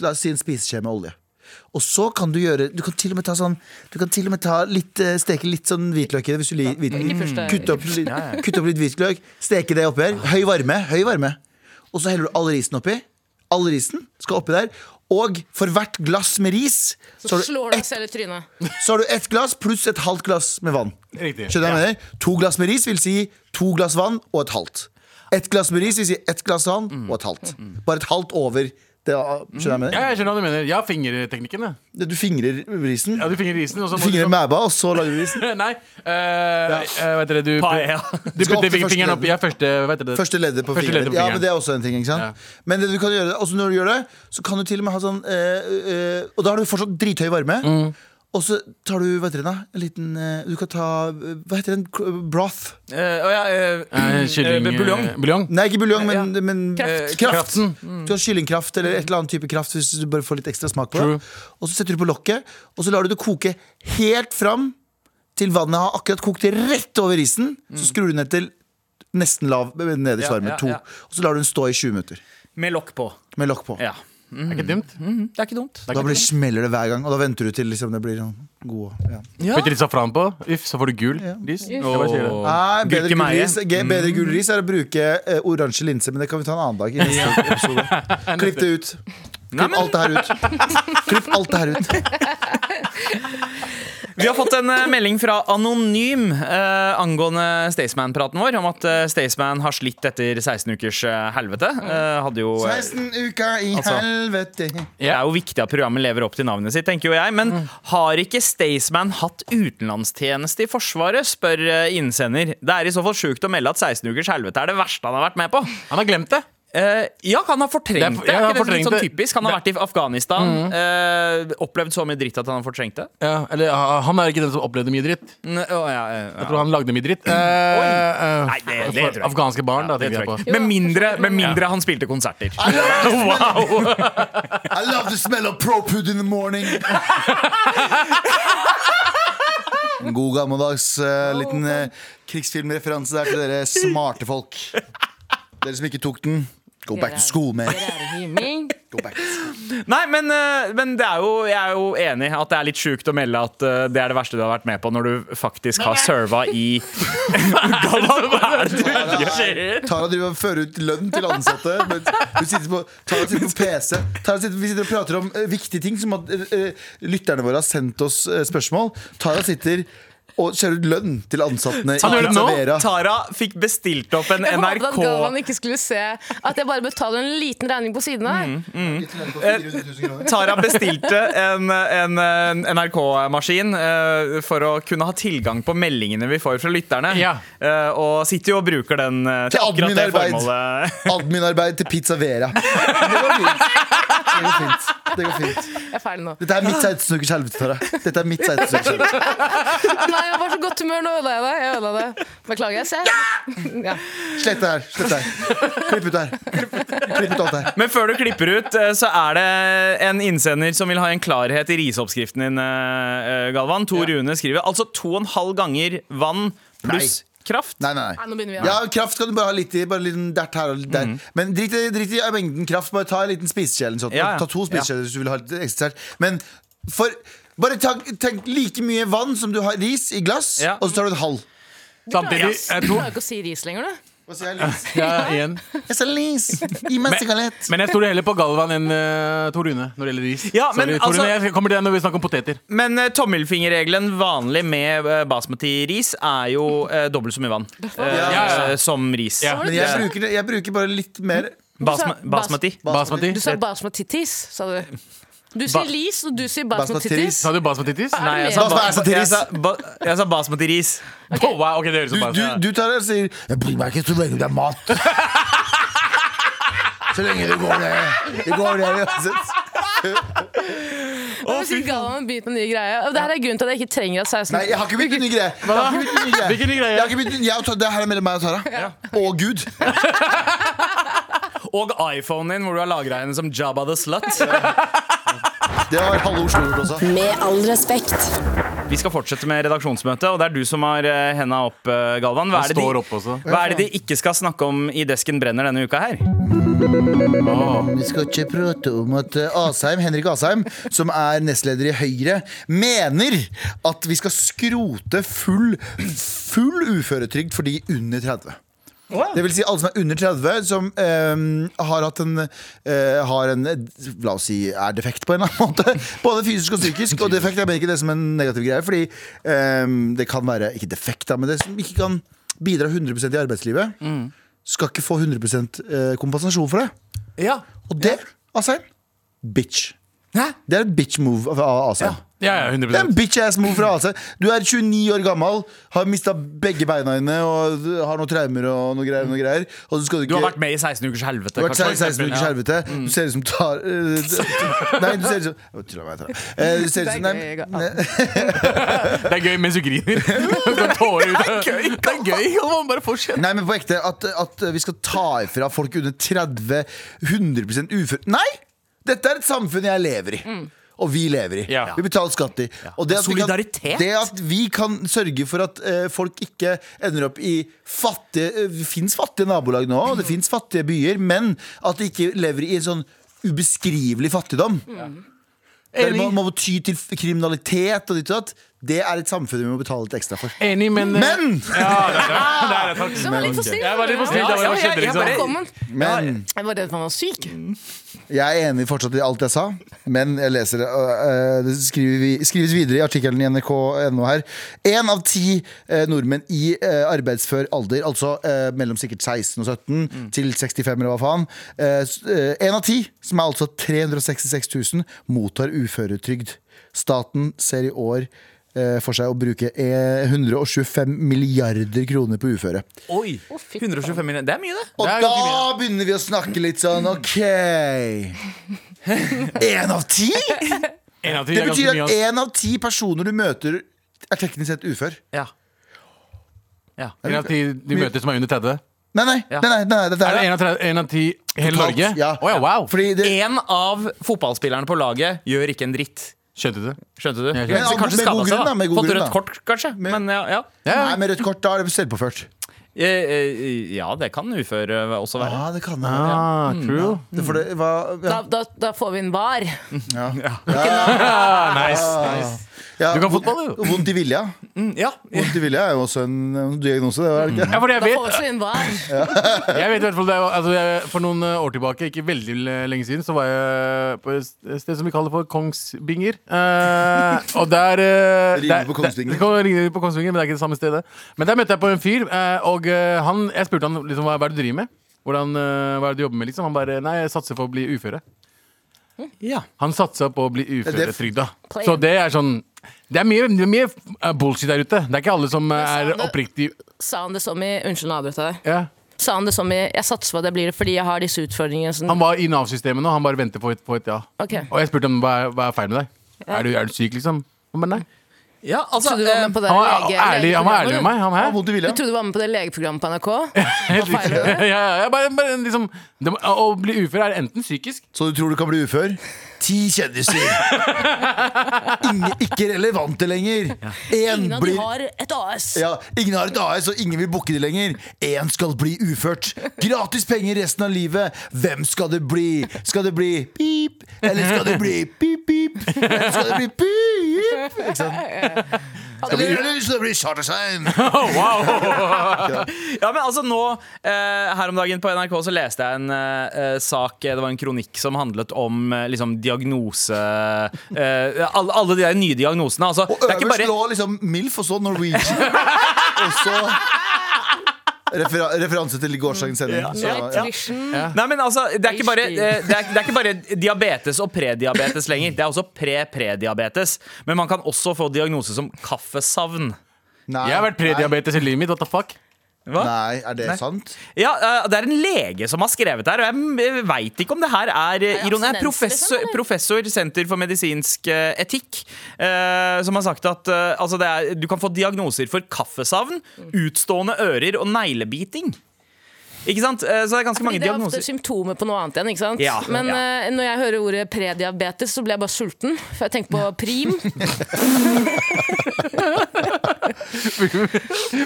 La oss si en spiseskje med olje og så kan du gjøre, du kan til og med ta sånn Du kan til og med ta litt, eh, steke litt sånn hvitløk i det Hvis du liker første- kutte, opp litt- kutte opp litt hvitløk Steke det oppi her, høy varme, høy varme Og så heller du all risen oppi All risen skal oppi der Og for hvert glass med ris Så har du Slår deg selv i trynet. så har du ett glass pluss et halvt glass med vann. Riktig. Skjønner du hva jeg mener? To glass med ris vil si to glass vann og et halvt. Ett glass med ris vil si ett glass vann og et halvt. Bare et halvt over det. Skjønner du hva jeg Ja, mener? jeg skjønner hva du mener. Jeg har fingerteknikken. jeg. Du fingrer risen. Ja, du fingrer risen, og så må Du liksom- du fingrer Eh, mæba, og så lager du risen. Nei. Uh, vet dere, du Paella. Du Skal opp putter til første fingeren opp. leddet. Ja, første, vet dere, det. Første leddet på Første fingeren. leddet på ja, fingeren. men det er også en ting, ikke sant? Men det du Mm. kan gjøre, også når du gjør det, så kan du til og med ha sånn eh, eh, Og da har du fortsatt drithøy varme. Og så tar du hva heter den da? En liten, eh, du kan ta eh, Hva heter den? K- Broth. Eh, å ja, eh, Eh, Kylling... eh, buljong. eh, Buljong. Nei, ikke buljong, men, men Kraft. eh, kraft. Kraften. Mm. Du har kyllingkraft eller et eller annet type kraft hvis du bare får litt ekstra smak på det. True. Og så setter du på lokket, og så lar du det koke helt fram til vannet har akkurat kokt rett over isen. Så skrur du ned til nesten lav nederst Mm. Ja, varme. ja, to. ja. Og så lar du den stå i 20 minutter Med lokk på. med lokk på. Ja. Er ikke dumt. Det er ikke dumt. Da blir, smeller det hver gang, og da venter du til liksom, det blir sånn god. Ja. Ja. Putter litt safran på, uff, så får du gul ris. Jeg bare sier det. Nei, bedre, Gurkemeie. gul ris, ge- bedre gul Mm. ris er å bruke eh, oransje linse, men det kan vi ta en annen dag. I neste episode. Klipp det ut. Nei, Klipp men- alt det her ut. Klipp alt det her ut. Vi har fått en eh, melding fra Anonym eh, angående Staysman-praten vår om at eh, Staysman har slitt etter 16 ukers eh, helvete. Mm. Eh, hadde jo, eh, 16 uker i Altså. helvete. det er jo viktig at programmet lever opp til navnet sitt, tenker jo jeg. Men Mm. har ikke Staysman hatt utenlandstjeneste i Forsvaret, spør eh, innsender. Det er i så fall sjukt å melde at 16 ukers helvete er det verste han har vært med på. Han har glemt det. Eh, ja, han har fortrengt det. Det er Er, for- ja, han har ikke det litt fortrengt sånn det. Mm. typisk? Han har vært i Afghanistan, eh, opplevd så mye dritt at han har fortrengt det. Ja, eller ah, han er ikke den som opplevde mye dritt. N- å, ja, ja, ja. Jeg tror han lagde mye dritt. Eh, eh, Nei, det- det tror jeg ikke. Afghanske barn, da, tenker jeg på. Med mindre, med mindre han spilte konserter. I love the smell of propud in the morning. En god gammeldags eh, liten eh, krigsfilmreferanse der til dere smarte folk. Dere som ikke tok den. Go back to school, man. Go back to school. Nei, men, eh, men det er jo, jeg er jo enig i at det er litt sjukt å melde at eh, det er det verste du har vært med på, når du faktisk har serva i Hva er det du gjør? Tara driver og fører ut lønn til ansatte. Men hun sitter på, Tara sitter på PC. Tara sitter, vi sitter og prater om eh, viktige ting, som at eh, eh, lytterne våre har sendt oss eh, spørsmål. Tara sitter og skjærer ut lønn til ansattene. i Han gjør det nå. Vera. Tara fikk bestilt opp en Jeg håpet at NRK Galvan ikke skulle se at jeg bare betaler en liten regning på siden av. Mhm. Tara bestilte en, en, en NRK-maskin eh, for å kunne ha tilgang på meldingene vi får fra lytterne. Ja. Eh, og sitter jo og bruker den eh, til Til akkurat det adminarbeid. formålet. Adminarbeid til Pizza Vera. Men Det går fint. Det går fint. Det går fint. Jeg er ferdig nå. Dette er mitt 16 ukers helvete, Tara. Dette er mitt 16 ukers helvete. Nei, jeg var så godt humør. Nå ødela jeg det. Jeg ødela det. Beklager. Jeg ser. Ja! Slett det her. Slett det her. Klipp ut det her. Klipp ut alt det her. Men før du klipper ut, eh, så er det en innsender som vil ha en klarhet i risoppskriften din, eh, eh, Galvan. Tor Rune skriver altså to og en halv ganger vann pluss kraft. Nei, nei, Nei, nei. nå begynner vi. Ja, kraft kan du bare ha litt i. Bare en liten dert her og litt der. Mm. Men drit i, drit i mengden kraft. Bare ta en liten spiseskje. eller noe sånt. Ja, ja. Ta to spiseskjeer hvis du vil ha litt ekstra dert. Men for bare ta, tenk like mye vann som du har ris i glass, Ja. og så tar du en halv. Samtidig, Yes. jeg Du tror klarer ikke å si ris lenger, du. Hva sier jeg? Lis? ja, igjen. Jeg sa lis! Gi meg en sigarett. Men jeg stoler heller på Galvan enn uh, Tor Rune når det gjelder ris. Ja, men Sorry, Tor altså- Rune, jeg kommer til deg når vi snakker om poteter. Men eh, tommelfingerregelen vanlig med eh, basmati-ris er jo eh, dobbelt så mye vann eh, Ja, ja. som ris. Ja. Men jeg bruker, det- jeg bruker bare litt mer Basma basmati. Basmati. Du sa basmatitis, sa du. Du Ba- sier lis, og du sier Basmatitis. basmatitis. Sa du basmatitis? Nei, jeg jeg sa, sa Basmati ris. jeg sa, ba jeg sa basmati-ris. Oh, wow, ok, det høres Du, ut som du, basmati. du tar det og sier 'Jeg bryr meg ikke så lenge det er mat'. Så lenge det går det. Det går det uansett. Nå sier Galvan begynt med en ny greie. Og Det her er grunnen til at jeg ikke trenger at 16 Nei, jeg har ikke begynt en ny greie. Jeg har ikke begynt en ny Hvilken greie. ny greie? Jeg har ikke begynt, jeg og Ta- det her er mellom meg og Tara. Og Gud. Og iPhonen din, hvor du har lagra henne som Jabba the Slut. Det var halve Oslo gjort også. Med all respekt. Vi skal fortsette med redaksjonsmøtet, og det er du som har eh, henda opp, eh, Galvan. Hva Han er, det de, står oppe også. hva er det de ikke skal snakke om i Desken brenner denne uka her? Vi skal ikke prate om at eh, Asheim, Henrik Asheim, som er nestleder i Høyre, mener at vi skal skrote full, full uføretrygd for de under 30. Det vil si alle som er under 30, som eh, har hatt en eh, Har en, eh, la oss si, er defekt på en eller annen måte. Både fysisk og psykisk. Og defekt jeg mener ikke det som en negativ greie, fordi eh, det kan være Ikke defekt, da, men det som ikke kan bidra 100 i arbeidslivet, skal ikke få 100 eh, kompensasjon for det. Og det, Asheim Bitch. Det er et bitch move av av Asheim. Ja, ja, 100 Det er en bitch ass move fra AC. Du er 29 år gammel, har mista begge beina dine og har noen traumer og noe greier. Noe greier og så skal du Du ikke har vært med i 16 ukers helvete. du har vært kanskje, 16 ukers for eksempel, helvete. Du ser ut som tar eh, Nei, du ser ut som Jeg tuller meg, jeg tuller. Eh, Du ser ut som nei, Det er gøy mens du griner. Det går tårer ut. Det er gøy! Det er gøy. Man bare fortsetter. Nei, men på ekte, at, at vi skal ta ifra folk under 30 100 ufør Nei! Dette er et samfunn jeg lever i. Og vi lever i. Ja. Vi betaler skatt i. Og det at vi kan- Solidaritet. det at vi kan sørge for at eh, folk ikke ender opp i fattige eh, Det fins fattige nabolag nå, og det fins fattige byer, men at de ikke lever i en sånn ubeskrivelig fattigdom. Der man må ty til kriminalitet og ditt og datt. Det er et samfunn vi må betale litt ekstra for. Enig, men eh, Men! Ja, det er det. Det er det, takk. var litt for snill. Jeg var litt for snill, jeg var Ja, ja, litt for ja, kjedelig, jeg ikke sånn. sant? bare- Velkommen. men Jeg var redd for han var syk. Jeg er enig fortsatt i alt jeg sa, men jeg leser det. øh, øh, Det skriver vi- skrives videre i artikkelen i nrk.no her. Én av ti eh, nordmenn i eh, arbeidsfør alder, altså eh, mellom sikkert 16 og 17 til 65 eller hva faen eh, Én av ti, som er altså 366 000, mottar uføretrygd. Staten ser i år eh, for seg å bruke eh, 125 milliarder kroner på uføre. Oi, 125 millioner. Det er mye, det. Og Det er ganske da begynner vi å snakke litt sånn OK. Én av ti? En av ti Det er ganske betyr mye. at ass. én av ti personer du møter, er teknisk sett ufør. Ja. Ja. En av ti du møter som er under 30. Nei, nei, nei, nei, nei dette Er det er en av, tre- en av ti i hele Totalt, Norge? ja. Å ja, wow. Fordi det, En av fotballspillerne på laget gjør ikke en dritt. Skjønte du det? Skjønte du? skjønte. Men Men kanskje med god skadet seg, da. grunn, da, med god Fått grunn, rødt da. kort, kanskje. Men- Men ja, ja. nei, med rødt kort, da er det selvpåført. Eh, eh, ja, det kan uføre også være. Ja, det kan det. Ja. Ah, true. Det får det, hva, ja. Da, da, da får vi en var. Ah, nice. Ja, Du kan vond- fotball, du. Vondt i vilja. Mm, Ja. Vondt i vilja er jo også en en diagnose, det er det ikke? Ja, fordi jeg Da vet får vi også en var. Jeg vet i hvert fall det, altså jeg, For noen eh, år tilbake, ikke veldig l- lenge siden, så var jeg på et st- sted som vi kaller for Kongsbinger. Eh, og der eh, Det der- rimer på Kongsvinger. Det, det rimer på Kongsbinger, men det er ikke det samme stedet. Men der møtte jeg på en fyr, eh, og eh, han, jeg spurte han liksom, hva, hva er det du driver med. Hvordan, eh, hva er det du jobber med? liksom Han bare Nei, jeg satser på å bli uføre. Ja. Han satsa på å bli Er det f- uføretrygda. Så det er sånn Det er mye, det er mye eh, bullshit der ute. Det er ikke alle som eh, Men er sa han oppriktig Sa han det som i Unnskyld, nå avbrøt jeg deg. ja. Sa han det som i Jeg satser på at jeg blir det fordi jeg har disse utfordringene. Som, Han var i Nav-systemet nå, han bare venter på et, på et ja. Ok. Og jeg spurte ham hva, er- hva er feil med deg. Er, du, er du syk, liksom? Han bare nei. ja, altså Så du var eh, med på det Han var lege- ærlig, han var ærlig med legeprogrammet, meg. Han Ja, her. Vondt i du? vilja. Du trodde du var med på det legeprogrammet på NRK? Helt Hva riktig. feiler ja, ja, ja, bare, bare, liksom, det, må- å bli ufør er enten psykisk Så du tror du kan bli ufør? Ti kjendiser. Ingen, ikke relevante lenger. Én Ingen av de blir har et AS. ja, Ingen har et AS, og ingen vil booke det lenger. Én skal bli uført. Gratis penger resten av livet. Hvem skal det bli? Skal det bli pip? Eller skal det bli pip-pip? Eller skal det bli pip? Ikke sant? Eller eller skal det bli Charterstein? Ja, men altså nå eh, Her om dagen på NRK så leste jeg en eh, sak eh, Det var en kronikk som handlet om eh, liksom diagnose eh, alle, alle de der nye diagnosene. Altså, Og det er ikke øverst bare lå liksom MILF, og så Norwegian. Og så refera referanse til gårsdagens sending. Så, ja. Nutrition. Nei, men altså, det er ikke bare, HD. eh, det er, det er ikke bare diabetes og prediabetes lenger. Det er også pre-prediabetes. Men man kan også få diagnose som kaffesavn. Nei, Jeg har vært prediabetes i livet mitt. What the fuck? Hva? Nei, er det sant? Ja, eh, Det er en lege som har skrevet det her, og jeg veit ikke om det her er eh, ironi. abstinenser, Det er liksom, Professor, eller? professor Senter for medisinsk eh, etikk eh, som har sagt at eh, altså det er, du kan få diagnoser for kaffesavn, Mm. utstående ører og neglebiting. Ikke sant? Eh, Så det er ganske mange Fordi det er ofte diagnoser. symptomer på noe annet igjen. ikke sant? Ja, Men ja. eh, når jeg hører ordet prediabetes, så blir jeg bare sulten. For jeg tenker på prim.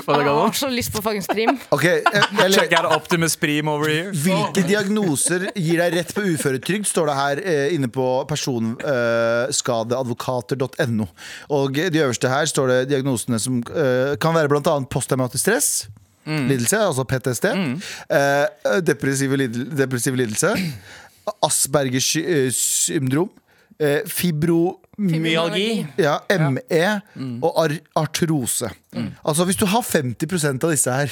Hva Jeg det har så lyst på fuckings prim. Ok, jeg, jeg, le- Check out Optimus Prime over here. Hvilke diagnoser gir deg rett på uføretrygd, står det her eh, inne på eh, personskadeadvokater.no. Og de øverste her står det diagnosene som eh, kan være bl.a. posttraumatisk stress. Lidelse, altså PTSD. Eh, depressive, lidel depressiv lidelse. Aspergers sy- eh, syndrom. Eh, fibro... Myalgi. Ja, ME og ar artrose. Mm. Altså Hvis du har 50 av disse her,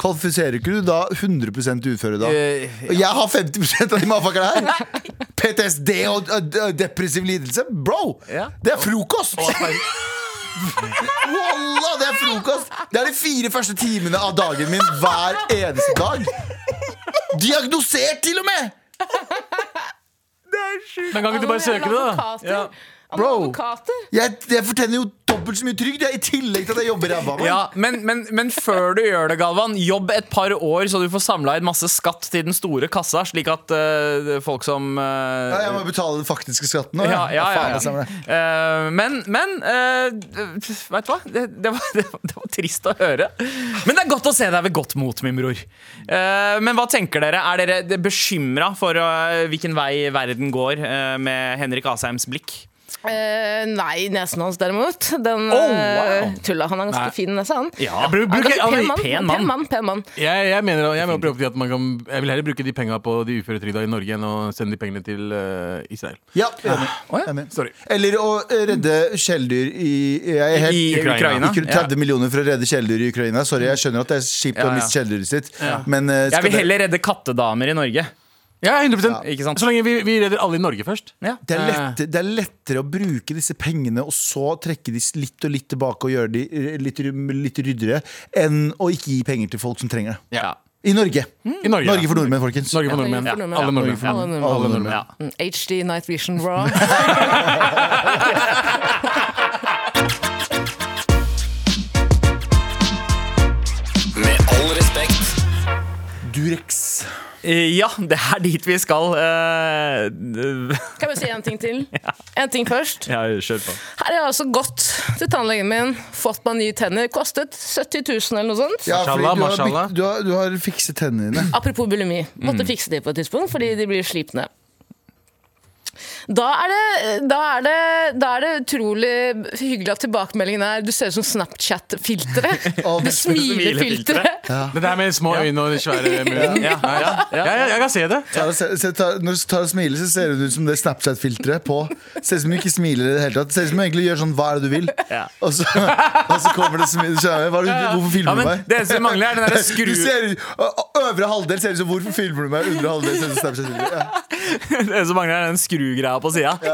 kvalifiserer ikke du da 100 uføre da? Eh, Og jeg har 50 av de motherfuckerne her! PTSD og ø, ø, depressiv lidelse? Bro! Ja. Det er frokost! Wallah, det er frokost! Det er de fire første timene av dagen min hver eneste dag. Diagnosert, til og med! Den gangen du bare søker det, da. Ja. Bro. Advokater. Jeg, jeg fortjener jo dobbelt så mye trygd, jeg, i tillegg til at jeg jobber ræva av meg. Ja, men, men, men før du gjør det, Galvan, jobb et par år så du får samla inn masse skatt til den store kassa, slik at eh, folk som eh, Ja, jeg må betale den faktiske skatten nå. ja, ja, faen, ja, det stemmer ja. det. Eh, men men Veit du hva? Det, det, var, det, var, det var trist å høre. Men det er godt å se deg ved godt mot, min bror. Eh, men hva tenker dere? Er dere bekymra for eh, hvilken vei verden går eh, med Henrik Asheims blikk? Eh, nei, nesen hans derimot. Den Oh, eh, wow. tulla. Han er ganske Nei. fin nese, han. Ja. Bruk, Han er bruk, ganske altså, pen mann. pen Pen mann. mann. Pen mann. jeg, jeg mener jeg må prøve å si at man kan, jeg vil heller bruke de penga på de uføretrygda i Norge enn å sende de pengene til eh, Israel. Ja, enig. Enig. Sorry. Eller å redde kjæledyr i jeg er helt, I Ukraina. Ikke 30 millioner for å redde kjæledyr i Ukraina. Sorry, jeg skjønner at det er kjipt Ja, å ja. miste kjæledyret sitt, men eh, skal Jeg vil det- heller redde kattedamer i Norge. Ja, 100 Ikke sant? Så lenge vi, vi redder alle i Norge først. Ja. det er, lette, det er lettere å bruke disse pengene og så trekke de litt og litt tilbake og gjøre de eh, litt, ry- litt ryddigere, enn å ikke gi penger til folk som trenger det. Ja. I Norge. Mm. I Norge, Norge for ja. nordmenn, folkens. Norge for Ja, Norge nordmenn. for nordmenn, Alle ja. nordmenn. Ja, alle nordmenn. Alle nordmenn. Ja. Mm, HD Night Vision Raw. Med all respekt. Durex. ja, det er dit vi skal. eh, Kan jeg bare si én ting til? En ting først. ja, kjør på. Her har jeg altså gått til tannlegen min, fått meg nye tenner. Kostet 70 000 eller noe sånt. Ja, fordi Mashallah, du, har mashallah. bytt, du, har, du har fikset tennene dine. Apropos bulimi. Måtte fikse de på et tidspunkt fordi de blir slipne. Da er, det, da, er det, da er det utrolig hyggelig at tilbakemeldingen er du ser ut som Snapchat-filteret. Og- Det smilefilteret. Det der med små øyne og den svære munnen. Ja, ja, ja, ja, jeg kan se det. Tar og se- se- tar- Når du tar og smiler, så ser du ut som det Snapchat-filteret på. Ser ut som du ikke smiler i det hele tatt. Ser ut som du egentlig gjør sånn 'hva er det du vil'? Ja. Og, så, og så kommer det smil. Skjønner jeg. Hva er det du- Hvorfor Ja, filmer du men meg? det eneste vi mangler, er den derre skru... Du ser, ø- ø- øvre halvdel ser ut som 'hvorfor filmer du meg'? Undre halvdel ser ut som Snapchat-filteret. Ja. Det eneste vi mangler, er den skrugreia på sida. Det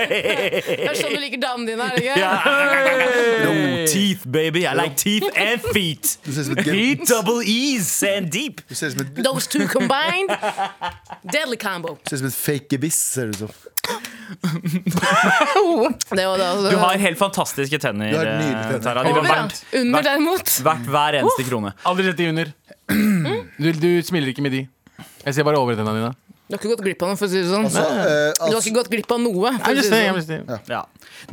er sånn du liker damene dine, er det ikke? No teeth, baby. I like teeth and feet. Du ser ut som et Feet, gen- double E's and deep. du ser ut som et- Those two combined. Deadly combo. ser ut som et fake abyss. Ser du, som. Det var det, altså. Du har helt fantastiske tenner, eh, Du har nydelige tenner. Tara. De Over, var ja. verdt, Under, derimot. verdt hver eneste krone. Aldri sett de under. Du, du smiler ikke med de. Jeg ser bare over tennene dine. Du har ikke gått glipp av noe, for å si det sånn. Så, ø, Du har altså, ikke gått glipp av noe. For å si det sånn. Ja.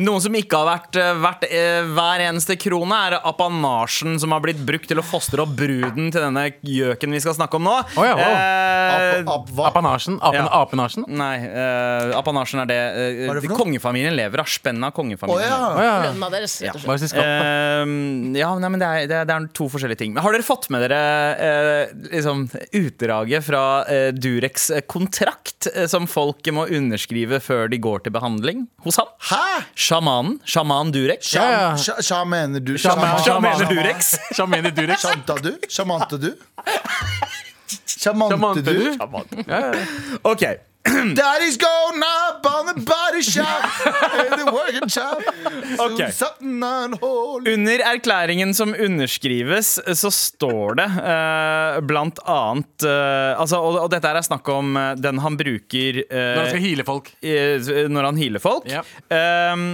Noen som ikke har vært eh, verdt eh, hver eneste krone, er apanasjen som har blitt brukt til å fostre opp bruden til denne gjøken vi skal snakke om nå. Å ja, wow. Eh, ap- ap- hva? Apanasjen. Apen, Ja. Apenasjen. Nei, eh, apanasjen er det, eh, Hva er det for noe? Kongefamilien lever av spennet av Å kongefamilien. ja. Å ja. Lønna deres, rett og slett. Bare si skatt. Ehm, ja, nei, men det er, det, er, det er to forskjellige ting. Men har dere fått med dere eh, liksom, utdraget fra eh, Durex eh, kontrakt eh, som folk må underskrive før de går til behandling hos han? Hæ? Sjamanen. Sjaman Durek. Sja, Ja, ja. sja, sja mener du? Sjaman- Sjaman Sjaman- Durex. Shameni Durek. Sjamanta du? Sjamante du? Sjamante Shamante du? du. Ok, Daddy's going up on the body shop In the working shop Ok. Something unholy Under erklæringen som underskrives, så står det eh, blant annet eh, altså, og, og dette her er snakk om eh, den han bruker eh, Når han skal heale folk. i- når han healer folk. Ja. Ehm,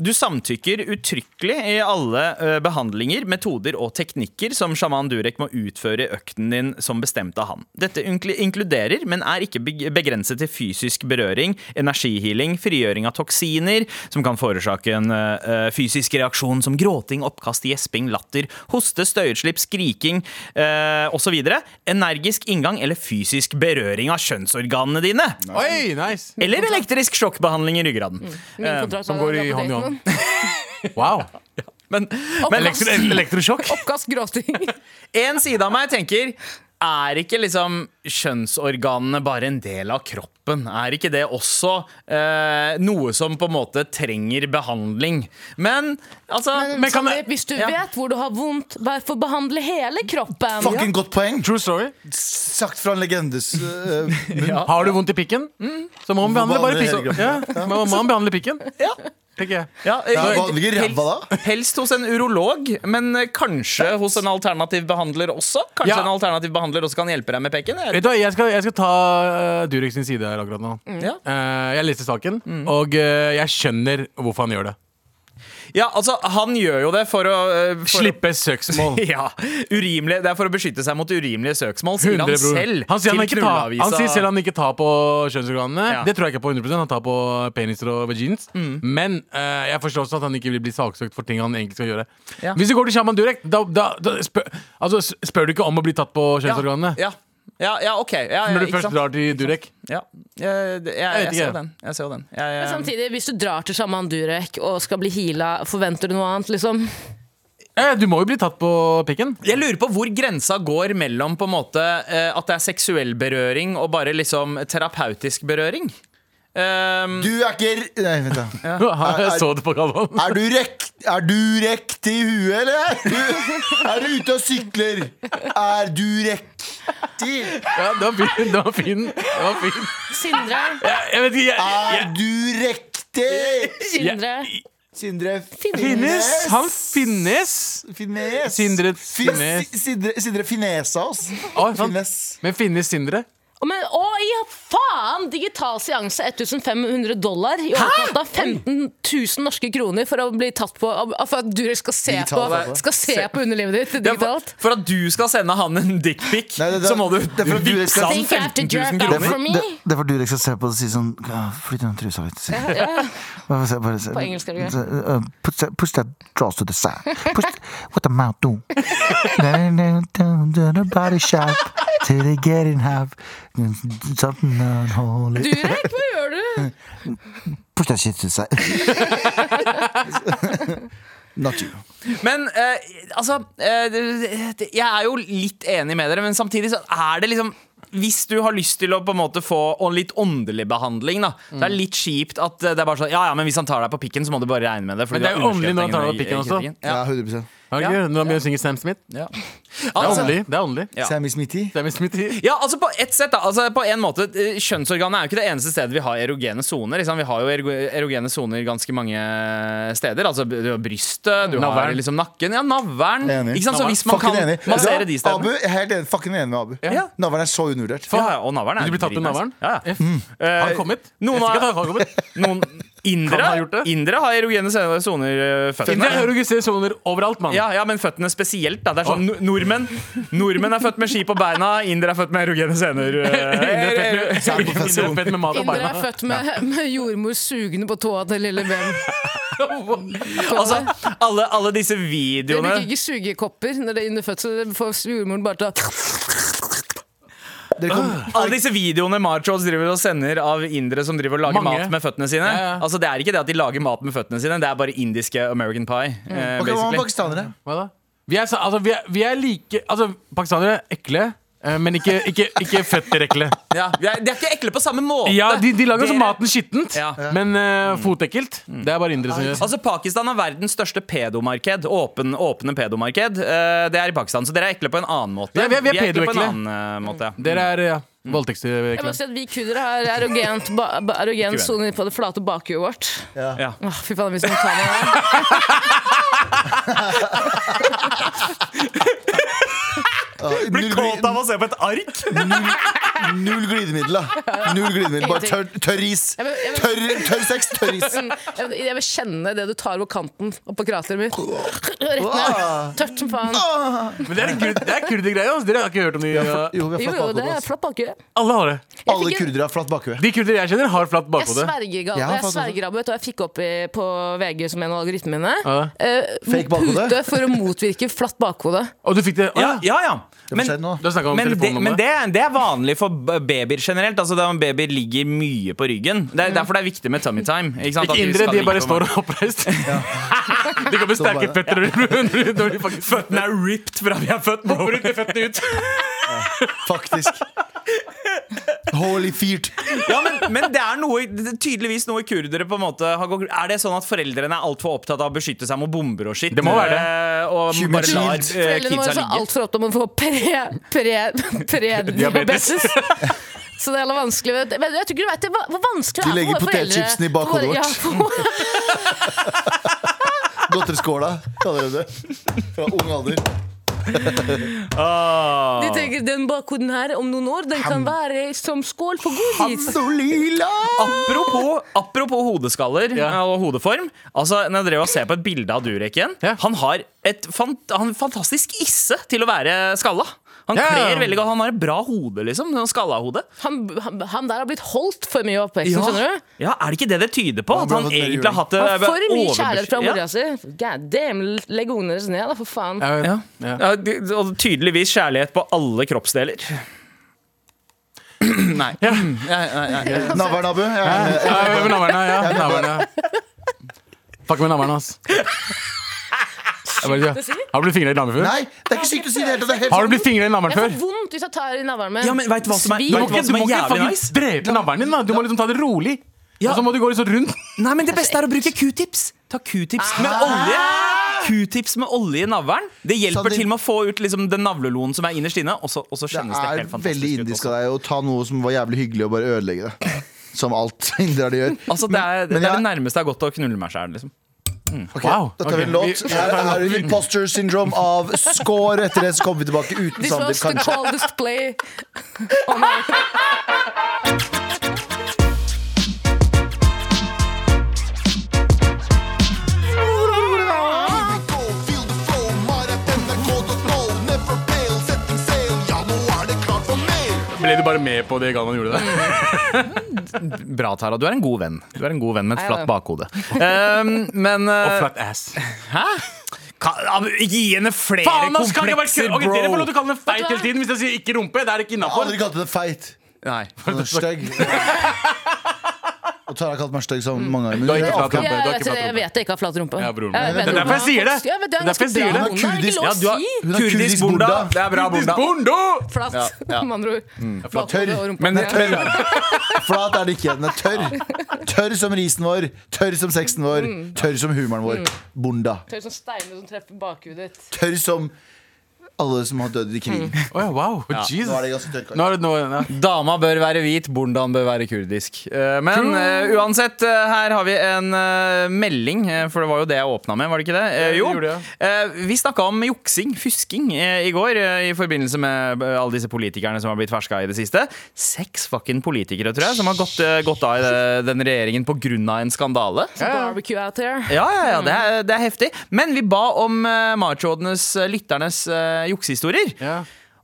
du samtykker uttrykkelig i alle eh, behandlinger, metoder og teknikker som sjaman Durek må utføre i økten din som bestemt av han. Dette inkl- inkluderer, men er ikke beg- begrenset til fysisk berøring, energihealing, frigjøring av toksiner, som kan forårsake en eh, eh, fysisk reaksjon som gråting, oppkast, gjesping, latter, hoste, støyutslipp, skriking eh, osv. Energisk inngang eller fysisk berøring av kjønnsorganene dine. Oi, nice! Eller elektrisk sjokkbehandling i ryggraden. Mm. Min kontrakt Eh, som var går i rapportert hånd om. i hånd. Wow. Men, men Elektro, elektrosjokk. Oppkast, gråting. en side av meg tenker er ikke liksom kjønnsorganene bare en del av kroppen? Er ikke det også eh, noe som på en måte trenger behandling? Men altså Men kan Sandeep, jeg hvis du Ja. vet hvor du har vondt, hvorfor behandle hele kroppen? Fucking godt poeng! True story. Sagt fra en legendes eh, munn. Har du vondt i pikken, så må man behandle bare behandler pikken. Mm. Ja, man må man behandle pikken, tenker jeg. ja, eh, Ja, hva ligger i ræva da? Helst hos en urolog, men eh, kanskje hos en alternativ behandler også? Kanskje Ja. en alternativ behandler også kan hjelpe deg med peken? Jeg Vet vet. du hva, jeg skal, jeg skal ta eh, Durek sin side her akkurat nå. Ja. Eh, jeg leste saken, og eh, jeg skjønner hvorfor han gjør det. Ja, altså, han gjør jo det for å eh, for å- Slippe søksmål. Ja, urimelig, Det er for å beskytte seg mot urimelige søksmål, sier 100 han bror. selv. han sier han, til ikke tar, han Krulleavisa. sier selv han ikke tar på kjønnsorganene. Ja. Mm. Det tror jeg ikke på 100 Han tar på peniser og vagines. Men eh, jeg forstår også at han ikke vil bli saksøkt for ting han egentlig skal gjøre. Ja. Hvis du går til Shaman Durek, da, da, da spør, altså, s- spør du ikke om å bli tatt på kjønnsorganene. Ja, ja, ja ok. Ja, ja, Når du ikke først sant? drar til Durek. Ja. Jeg, jeg, jeg, vet ikke. ser jo den. Jeg ser jo den. Jeg, Men sånn- eh, Samtidig, hvis du drar til sjaman Durek og skal bli heala, forventer du noe annet, liksom? Eh, du må jo bli tatt på pikken. jeg lurer på hvor grensa går mellom på en måte eh, at det er seksuell berøring og bare liksom terapeutisk berøring. Um, Du er ikke r- Nei, vent, da. jeg så det på Galvan. Er du rekk... Er du rekt i huet, eller? Er du, er du ute og sykler? Er du rektig? Ja, det var fin. Det var fin. Det var fin. Sindre, Jeg, jeg vet ikke jeg, Er du rektig? Sindre, Sindre Finnes! Han finnes! Fines. Sindre Fi- Fines. Si- Sindre, Sindre Finesa oss. Å, sant. Fines. Men finnes Sindre? Å, men, å, ja, faen! Digital seanse 1500 dollar. I overkant av 15 000 norske kroner for å bli tatt på For at du skal se, på, Digitalt, altså. skal se på underlivet ditt det er for, digitalt. for at du skal sende han en dickpic, Nei, det- det- så må du det er for at du vippse skal- han Think I have to 15 jerk Det out 000 for er kroner. me? for- det- det er for du Durek skal se på og si sånn «Ja, Flytt den trusa litt. Bare se, bare se. På engelsk er det Uh, Push that, push that draws to the side. Push what the mouth do. Down, down, down to the body shop. Till they get in half. Something unholy. Durek, hva gjør du? Push that shit to the side. Not you. Men eh, altså eh, det- det- Jeg er jo litt enig med dere, men samtidig så er det liksom hvis du har lyst til å på en måte få og litt åndelig behandling, da. Det er litt kjipt at eh, det er bare sånn Ja ja, men hvis han tar deg på pikken, så må du bare regne med det. fordi Men det du er har jo åndelig når han tar deg på pikken også. underskrevet i- i- i- i- Ja, 100 Har Ja. ikke Når han begynner å synge Sam Smith. Ja. Det er Altså, åndelig. Det er åndelig. Ja. Sammy Smithy. Sam Smith i- Ja, altså på ett sett da altså På en måte, eh, Kjønnsorganet er jo ikke det eneste stedet vi har erogene soner. Liksom. Vi har jo ergo- erogene soner ganske mange steder. Altså Du har brystet, du har Navlen. liksom nakken, ja, navlen. Enig. Ikke sant? Så Navlen. hvis man Fucking kan enig. massere de Abu, stedene jeg er helt enig, fucking enig med Abu. Ja. Navlen er så undervurdert. ja, ja, og navlen er Du blir tatt med dritnice. navlen? Ja, ja. F. Mm. Eh, Har han kommet? Noen jeg har- har... har kommet. Noen indere Kan ha har, gjort det. indere har erogene soner eh, Indre føttene. eurogistrasjoner overalt, mann. Ja, ja, men føttene spesielt. Da. Det er sånn no- Nordmenn Nordmenn er født med ski på beina, indere er født med erogene sener. eh, Indre er fett med mat og Indre beina. er født med, med jordmor sugende på tåa til lille Ben. Altså, alle, alle disse De videoene bruker ikke sugekopper når de er under fødsel. Får jordmoren bare ta Dere kom, Alle disse videoene Marchos driver og sender av indere som driver og lager Mange. mat med føttene sine. Ja, ja. Altså Det er ikke det at de lager mat med føttene sine, det er bare indiske American pie. eh, Ok, hva med basically. pakistanere? Hva da? Vi er, så- altså, vi er, vi er like Altså, pakistanere er ekle, eh, men ikke, ikke, ikke føtter ekle. ja, de er- de er ikke ekle på samme måte. Ja, de, de lager også Dere- maten skittent, Ja. men eh, fotekkelt. Det er bare indre som gjør Altså Pakistan er verdens største pedomarked. Åpen, åpne pedomarked. Eh, det er i Pakistan, så dere er ekle på en annen måte. Ja, vi er- vi er ekle på en pedoekle. annen eh, måte. Dere er ja, Jeg voldtektsvekle. må si at Vi kurdere har erogent, ba- ba- erogent sone på det flate bakhjulet vårt. Ja. Åh, fy faen, hvis man tar meg der. Ja, null gli- å se på et ark! Null, null glidemiddel, da. Null glidemiddel. Bare tørr tørr is. Jeg vil- jeg vil- Tørr, tørr sex, tørr is. Sånn, Jeg, vil- jeg vil kjenne det du tar på kanten og på krateret mitt. Rett ned. Ah. Tørt som faen. Men det er, en kurd- det er kurdergreier. altså. Dere har ikke hørt om de ja. Jo, vi Jo, har jo, flatt det bakhode. er ass. flatt bakhjul. Alle har det. Alle Jeg fikk en- kurdere har flatt bakhode. De kurder jeg kjenner, har flatt Jeg bakhode. sverger, gal- Jeg har jeg fått det. sverger, Abu, vet du hva jeg fikk opp i, på VG som en av algoritmene mine? Ja. Eh, Fake bakhode? Pute for å motvirke flatt bakhode. Og du fikk det? Å, Ja, ja. ja, ja. Det var Men, skjedd nå. Du har snakket om men, det, men telefonnummeret. det, det er vanlig for b- babyer generelt. Altså da Babyer ligger mye på ryggen. Det er derfor det er viktig med tummy time. Ikke, sant? At Mm. Ikke indre, skal de ligge bare på står oppreist. de kommer sterke bare- føtter når de- når de faktisk Føttene er ripped fra vi er født, bro. Bruk de føttene ut. Faktisk. Holy fyrt. Ja, men, men det er noe, det er tydeligvis noe kurdere på en måte har gått Er det sånn at foreldrene er altfor opptatt av å beskytte seg mot bomber og skitt? Det må være det. eh, Og Human bare lar shield. eh, Foreldrene våre kidsa er ligge? altfor opptatt med å få pre, pre, pre-diabetes. Så det er jævla vanskelig. vet du. Men jeg tror ikke du vet det, hva- hvor vanskelig De det er legger for våre foreldre- potetchipsen i bakhodet for- ja, vårt. for- Godteriskåla, kaller de det. Fra ung alder. De tenker den bakhoden her om noen år, den kan være som skål for godis. Lila! Ah, Apropos, apropos hodeskaller eh, Ja. og hodeform. Altså, når jeg drev og ser på et bilde av Durek igjen Ja. Han har et fant han, fantastisk isse til å være skalla. Han Ja. kler veldig godt. Han har et bra hode, liksom. sånn Skallahode. Han, han, han der har blitt holdt for mye i oppveksten, skjønner du? ja, er det ikke det det tyder på? At burde han fått mer egentlig juling. har hatt det Han har for mye overbeskytt- kjærlighet fra Ja. mora si. God damn, legg ungene deres ned, da, for faen. Jeg vet. Ja. Ja. Ja, de- og tydeligvis kjærlighet på alle kroppsdeler. Nei. Navlen, Abu. Jeg er enig. Ja, med navlene, ja. Navlene. Fuck med navlene, ass. Jeg bare sier, Har du blitt fingret i navlen før? Nei, det er ikke sykt å si det hele tatt. Det er helt sånn- Har du blitt fingret i navlen Jeg får før? vondt hvis jeg tar i navlen min. Ja, men vet du hva som er- Svir. Du må Vet du hva ikke, du som er må ikke jævlig fucking nice? drepe navlen din, da. Du må liksom ta det rolig. Ja. Og så må du gå litt sånn rundt. Nei, men det beste er å bruke q-tips. Ta q-tips med olje. Q-tips med olje i navlen. Det Så hjelper det- til med å få ut liksom, den navleloen som er innerst inne. Og så, og så kjennes det, Det helt er veldig fantastisk ut. altså. indisk også. av deg å ta noe som var jævlig hyggelig, og bare ødelegge det. Som alt indere gjør. Altså, det er, men det, er jeg- det nærmeste jeg har gått til å knulle meg sjæl. Liksom. Ok, Wow, Da tar vi en ok. låt. Her er det Imposter Syndrome av Score. Etter det så kommer vi tilbake uten This Sander, was the kanskje. coldest play Ble du bare med på det Galvan gjorde der? Bra, Tara. Du er en god venn. Du er en god venn med et Ja, flatt ja. bakhode. Um, men Og uh, flat ass. Hæ? Kan, ja, men gi henne flere Faen, ass, kan jeg bare komplekser, Ok, Dere får lov til å bro! kalle det feit hele tiden. Hvis jeg sier ikke rumpe, det er ikke Jeg har innafor. Aldri kalte det feit. Nei. Han er Stygg. Og Tara har kalt meg stygg så mange Du har ikke ganger. Jeg flat rumpe. Du har vet, jeg vet ikke flat rumpe. jeg ikke har flat rumpe. Ja, broren min. Jeg vet Det er ikke. derfor jeg sier det. Ja, men det er Det er derfor ganske jeg sier bra det. horn, Det er ikke lov Ja, å du har si. Hun har kurdisk kurdisk borda. borda. Det er bra Kurdisk borda. Bordo! Flatt, med andre ord. Mm. Tørr. Bakhode og rumpe. Men, men Flat er det ikke. Den er tørr. Tørr som risen vår, tørr som sexen vår, tørr som humoren vår. Bonda. Tørr som steiner som treffer bakhudet ditt. Tørr som alle som har dødd i krigen. Å ja, wow. Jesus. Nå er det ganske tørt. Nå er det nå ja. Dama bør være hvit, bondaen bør være kurdisk. Eh, Men eh, uansett, eh, her har vi en eh, melding, eh, for det var jo det jeg åpna med, var det ikke det? Eh, det jo. gjorde jeg. Eh, vi snakka om juksing, fusking, eh, i går eh, i forbindelse med eh, alle disse politikerne som har blitt ferska i det siste. Seks fucking politikere, tror jeg, som har gått, eh, gått av i eh, den regjeringen pga. en skandale. Barbecue out there. Ja, ja, ja det, er, det er heftig. Men vi ba om uh, machodenes, eh, lytternes, uh, juksehistorier. Ja.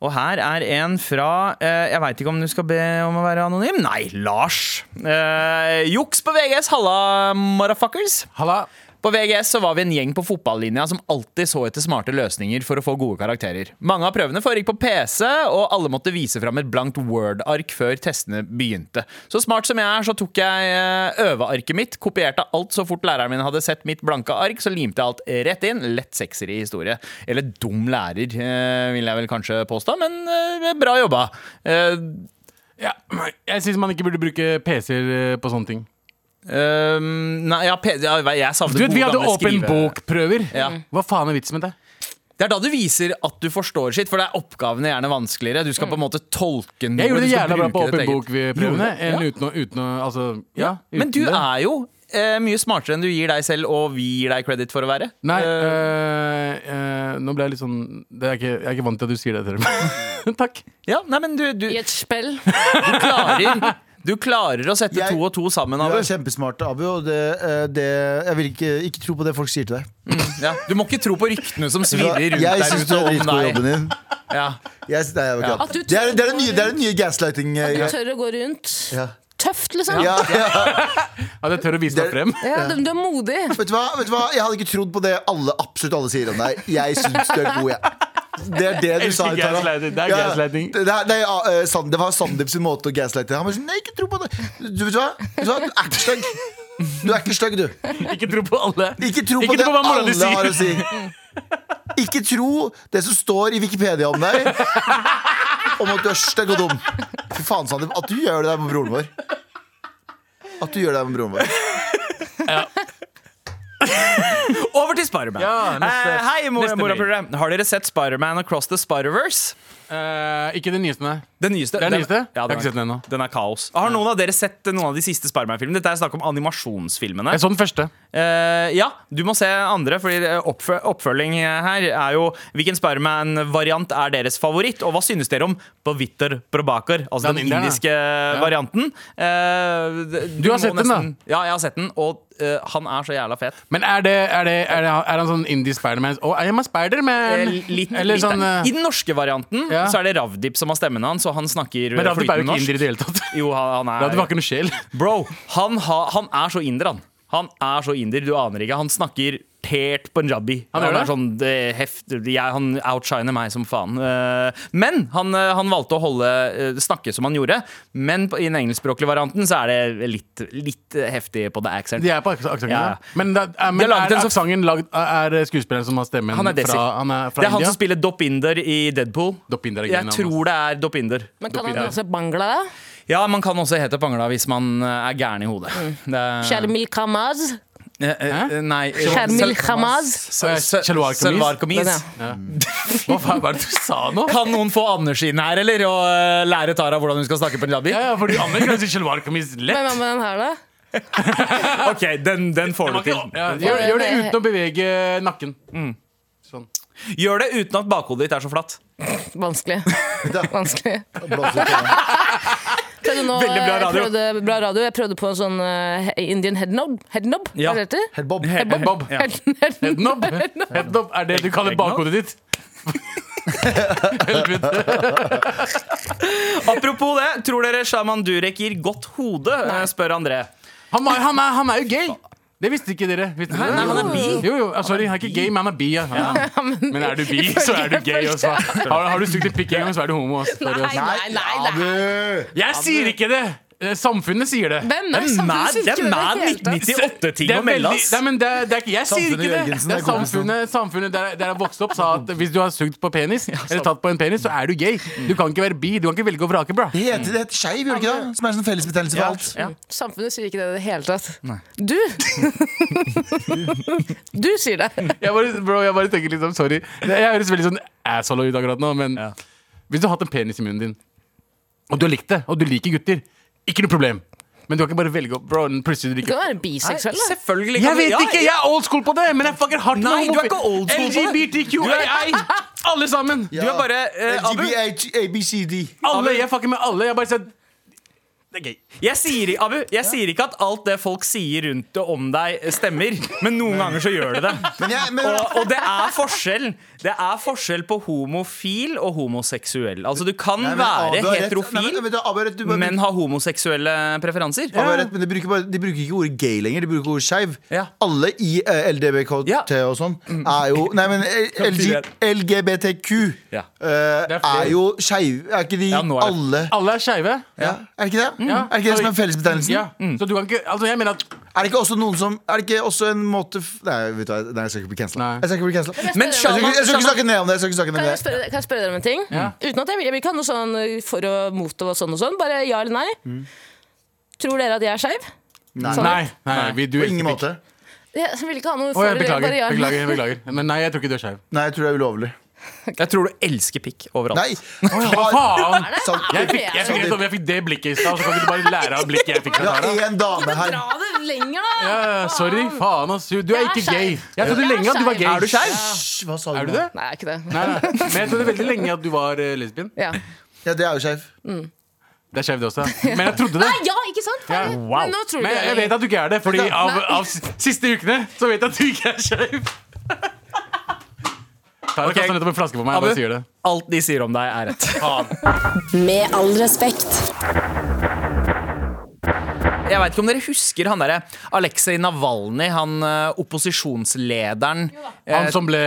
Og her er en fra eh, Jeg veit ikke om du skal be om å være anonym. Nei, Lars. Eh, juks på VGS, halla, motherfuckers. Halla. På VGS så var vi en gjeng på fotballinja som alltid så etter smarte løsninger for å få gode karakterer. Mange av prøvene foregikk på PC, og alle måtte vise fram et blankt Word-ark før testene begynte. Så smart som jeg er, så tok jeg eh, øvearket mitt, kopierte alt så fort læreren min hadde sett mitt blanke ark, så limte jeg alt rett inn. Lett sekser i historie. Eller dum lærer, eh, vil jeg vel kanskje påstå, men eh, bra jobba. Eh, Ja. Jeg syns man ikke burde bruke PC-er eh, på sånne ting. eh, nei, ja, P- ja, jeg savner Du vet, Vi god hadde gamle åpen skrive- bok-prøver. Ja. Hva faen er vitsen med det? Det er da du viser at du forstår sitt, for det er oppgavene gjerne vanskeligere. Du skal på en måte tolke noe. Jeg gjorde det du skal jævla bra på liksom bruke åpen ditt eget. bok-prøvene. Gjorde enn du? Uten å, uten å altså, ja, uten Men du det. er jo eh, mye smartere enn du gir deg selv, og vi gir deg credit for å være. Nei, Eh, eh, eh, nå ble jeg litt sånn det er ikke, Jeg er ikke vant til at du sier det til meg. Takk. ja, nei, men du, du, I et spill. du klarer Du klarer å sette Jeg- to og to sammen. Du Abu. er kjempesmart, Abu, og det, eh, det, jeg vil ikke, ikke tro på det folk sier til deg. Ja, du må ikke tro på ryktene som svirrer rundt Jeg der syns du ute er om dritgod i deg. jobben din. Ja. Jeg, sy- nei, jeg var ikke At du det, er, det er den nye, det er den nye gaslighting. eh, Du greia. tør å gå rundt. Ja. Tøft, liksom. Ja, ja. At jeg tør å vise meg frem. Ja, du, du er modig. Vet, du hva? Vet du hva? Jeg hadde ikke trodd på det alle, absolutt alle sier om deg. Jeg syns du er god, jeg. Det er det du Elsker sa. Tara. gaslighting. Det er Ja, ja. gaslighting. Det, det er- nei, ja, eh, Sand- det var Sandeep sin måte å gaslighte Han var sånn, nei, ikke tro på det. Du vet du hva? Vet du hva? Du er ikke stygg. Du er ikke stygg, du. Ikke tro på alle. Ikke tro på Ikke det tro på hva mora di alle sier. har å si. Ikke tro det som står i Wikipedia om deg. om at du er stygg og dum. Fy faen, Sandeep. At du gjør det der med broren vår. At du gjør det der med broren vår. Over til Spiderman. Ja, neste- eh, hei, mor neste morapulere. Har dere sett Spiderman Across the Spider-Verse? Eh, ikke den nyeste, nei. Den nyeste. Den nyeste? Ja, Jeg har ikke sett den ennå. Den er kaos. Har noen av dere sett eh, noen av de siste Spiderman-filmene? Dette er snakk om animasjonsfilmene. Jeg så den første. Eh, ja, du må se andre, for oppfø oppfølging her er jo Hvilken Spiderman-variant er deres favoritt, og hva synes dere om Baviter Prabakar? Altså den, Den inderen, ja. indiske varianten. Eh, d- Du har må sett den, da? Ja, jeg har sett den, og eh, han er så jævla fet. Men er, det, er, det, er, det, er han sånn indie Spiderman? Oh, I am a Spiderman! Eh, litt, Eller litt, sånn eh, I den norske varianten Ja. så er det Ravdip som har stemmen hans, og han snakker Men Radip er jo flytende ikke norsk. indier i det hele tatt. Jo, han, han Radip er har ikke noe sjel. Bro, han, ha, han er så inder, han. Han er så inder, du aner ikke. Han snakker pert punjabi. Han gjør er det? sånn eh, heft, jeg, Han outshiner meg som faen. Eh, Men han, eh, han valgte å holde, eh, snakke som han gjorde. Men på, i den engelskspråklige varianten så er det litt, litt eh, heftig på the accent. De er på akse- aksenten. Ja. Ja. Men, da, eh, men De har laget er en så- aksenten lagd eh, Er skuespilleren som har stemmen Han er Desi. fra, han er fra det er han India? som spiller Dopinder i Deadpool. Dopinder er altså. jeg genial, tror det er Dopinder. Men kan han Dopinder. også bangla, da? Ja, man kan også hete Pangla hvis man eh, er gæren i hodet. Mm. Det er- Sharmil Kamaz? Eh, eh, Nei eh, Sharmil Sel- Kamaz? Sel- Sel- Shelwar Kameez. Selvar Den, Kameez. ja. Hva faen var det du sa nå? Kan noen få Anders inn her, eller? Og eh, lære Tara hvordan hun skal snakke punjabi? Ja, ja, fordi Anders kan si Shelwar Kameez lett. Men hva med den her, da? Ok, den, den får du til. Ja, gjør, gjør det uten å bevege nakken. Sånn. Gjør det uten at bakhodet ditt er så flatt. Vanskelig. Da. Vanskelig. Blås ut i det. Prøvde nå, Veldig bra radio. Jeg prøvde, bra radio. Jeg prøvde på en sånn eh, Indian headnob. Headnob, Ja. hva heter det? Helt Bob. Head bob. Ja. Head- head- Headnob. Headnob er det du kaller Headnob? bakhodet ditt. Helvete. Apropos det, tror dere Shaman Durek gir godt hode? eh, Spør André. Han, var, han, er, han er jo gay. Det visste ikke dere. Visste dere? nei, han er bi. Jo, jo, ah, sorry, han er ikke gay, men han er bi. Ja. Men er du bi, så er du gay. Også. Har, har du sugd en pikk en gang, så er du homo. Også. Sorry, ass. Nei, nei, nei. Abu. Jeg sier ikke det! Eh, Samfunnet sier det. Hvem er Det er samfunnet mad, synes det ikke er mad i det hele tatt? 1998-ting å melde, veldig- ass. Nei, men det, er- det er ikke, jeg sier Samfunnet ikke det. det Jørgensen, det er er kompisen. samfunnet, samfunnet der, der jeg vokste opp, sa at hvis du har sugd på penis, eller tatt på en penis, så er du gay. Du kan ikke være bi. Du kan ikke velge og vrake, bra. Det heter, det heter skeiv, gjør det ikke det? Som er en sånn fellesbetegnelse for alt. Ja. Samfunnet sier ikke det i det hele tatt. Du! du sier det. Jeg bare, bro, jeg bare tenker liksom, sorry. Jeg høres veldig sånn asshole ut akkurat nå, men Ja. hvis du har hatt en penis i munnen din, og du har likt det, og du liker gutter, ikke noe problem. Men du kan ikke bare velge opp, bro, den plutselig du Du kan liker. være biseksuell, da. Selvfølgelig Jeg kan vet Ja, ikke, jeg er old school på det, men jeg er fucking hardt med Nei, du er homofil- ikke old school på det. LGBTQIA, alle sammen. Du er bare eh, Abu, LGBH, ABCD. Alle, jeg fucker med alle. Jeg bare sier det er gøy. jeg, sier, Abu, jeg sier ikke at alt det folk sier rundt og om deg, eh, stemmer, men noen ganger så gjør det det. Men jeg, men, Og, og det er forskjell Det er forskjell på homofil og homoseksuell. Altså, du kan Nei, men være Abu har rett. Nei, heterofil, men- men, Abu har rett, du bare- men ha homoseksuelle preferanser. Abu har rett, men de bruker, bare, de bruker ikke ordet gay lenger, de bruker ordet skeiv. Ja. Alle i eh, LDBKT Ja. og sånn er jo Nei, men eh, LG, LGBTQ Ja. eh, Det er flere. er jo skeive. Er ikke de Ja, nå er det- alle Alle er skeive. ja. Er det ikke det? Er det ikke det som er fellesbetegnelsen? Ja. Så du kan ikke Altså, jeg mener at Er det ikke også noen som Er det ikke også en måte f- Nei, vet du hva, nei jeg skal ikke bli cancela. Nei. Jeg skal ikke bli cancela. Men Jeg skal ikke, jeg skal ikke snakke ned om det. Jeg skal ikke snakke Kan ned om jeg det spørre, kan jeg spørre dere om en ting? Uten at jeg, vil, jeg vil ikke ha noe sånn eh, for og mot og sånn og sånn. Bare ja eller nei. Mm. Tror dere at jeg er skeiv? Nei, nei, vi, du På ingen måte. Jeg vil ikke ha noe Å, for jeg eller beklager. bare ja eller nei. Beklager. beklager Men nei, jeg tror ikke du er skeiv. Nei, jeg tror det er ulovlig. Jeg tror du elsker pikk overalt. Nei! Hva faen? Sant. Jeg fikk, jeg, fikk, jeg, fikk det blikket i stad, så kan ikke du bare lære av blikket jeg fikk Vi fra har Tara. én dame her. Dra det lenger, da! Ja, sorry. Faen, ass. Du er ikke gay. Jeg trodde lenge at du var gay. Er du skeiv? Hysj, hva sa du? Er du nå? det? Nei, jeg er ikke det. Nei, nei. Men jeg trodde veldig lenge at du var eh, lesbien. Ja. Ja, det er jo skeiv. Det er skjeivt også. Men jeg trodde det. Nei, ja, ikke sant? Ja, wow. Men nå tror du Men det. jeg vet at du ikke er det, Fordi av, av s- siste ukene så vet jeg at du ikke er skeiv. Tara Ok. kastet nettopp en flaske på meg. Jeg bare sier det. alt de sier om deg, er rett. Med all respekt. Jeg vet ikke om dere husker han derre Aleksej Navalnyj, han eh, opposisjonslederen eh, Han som ble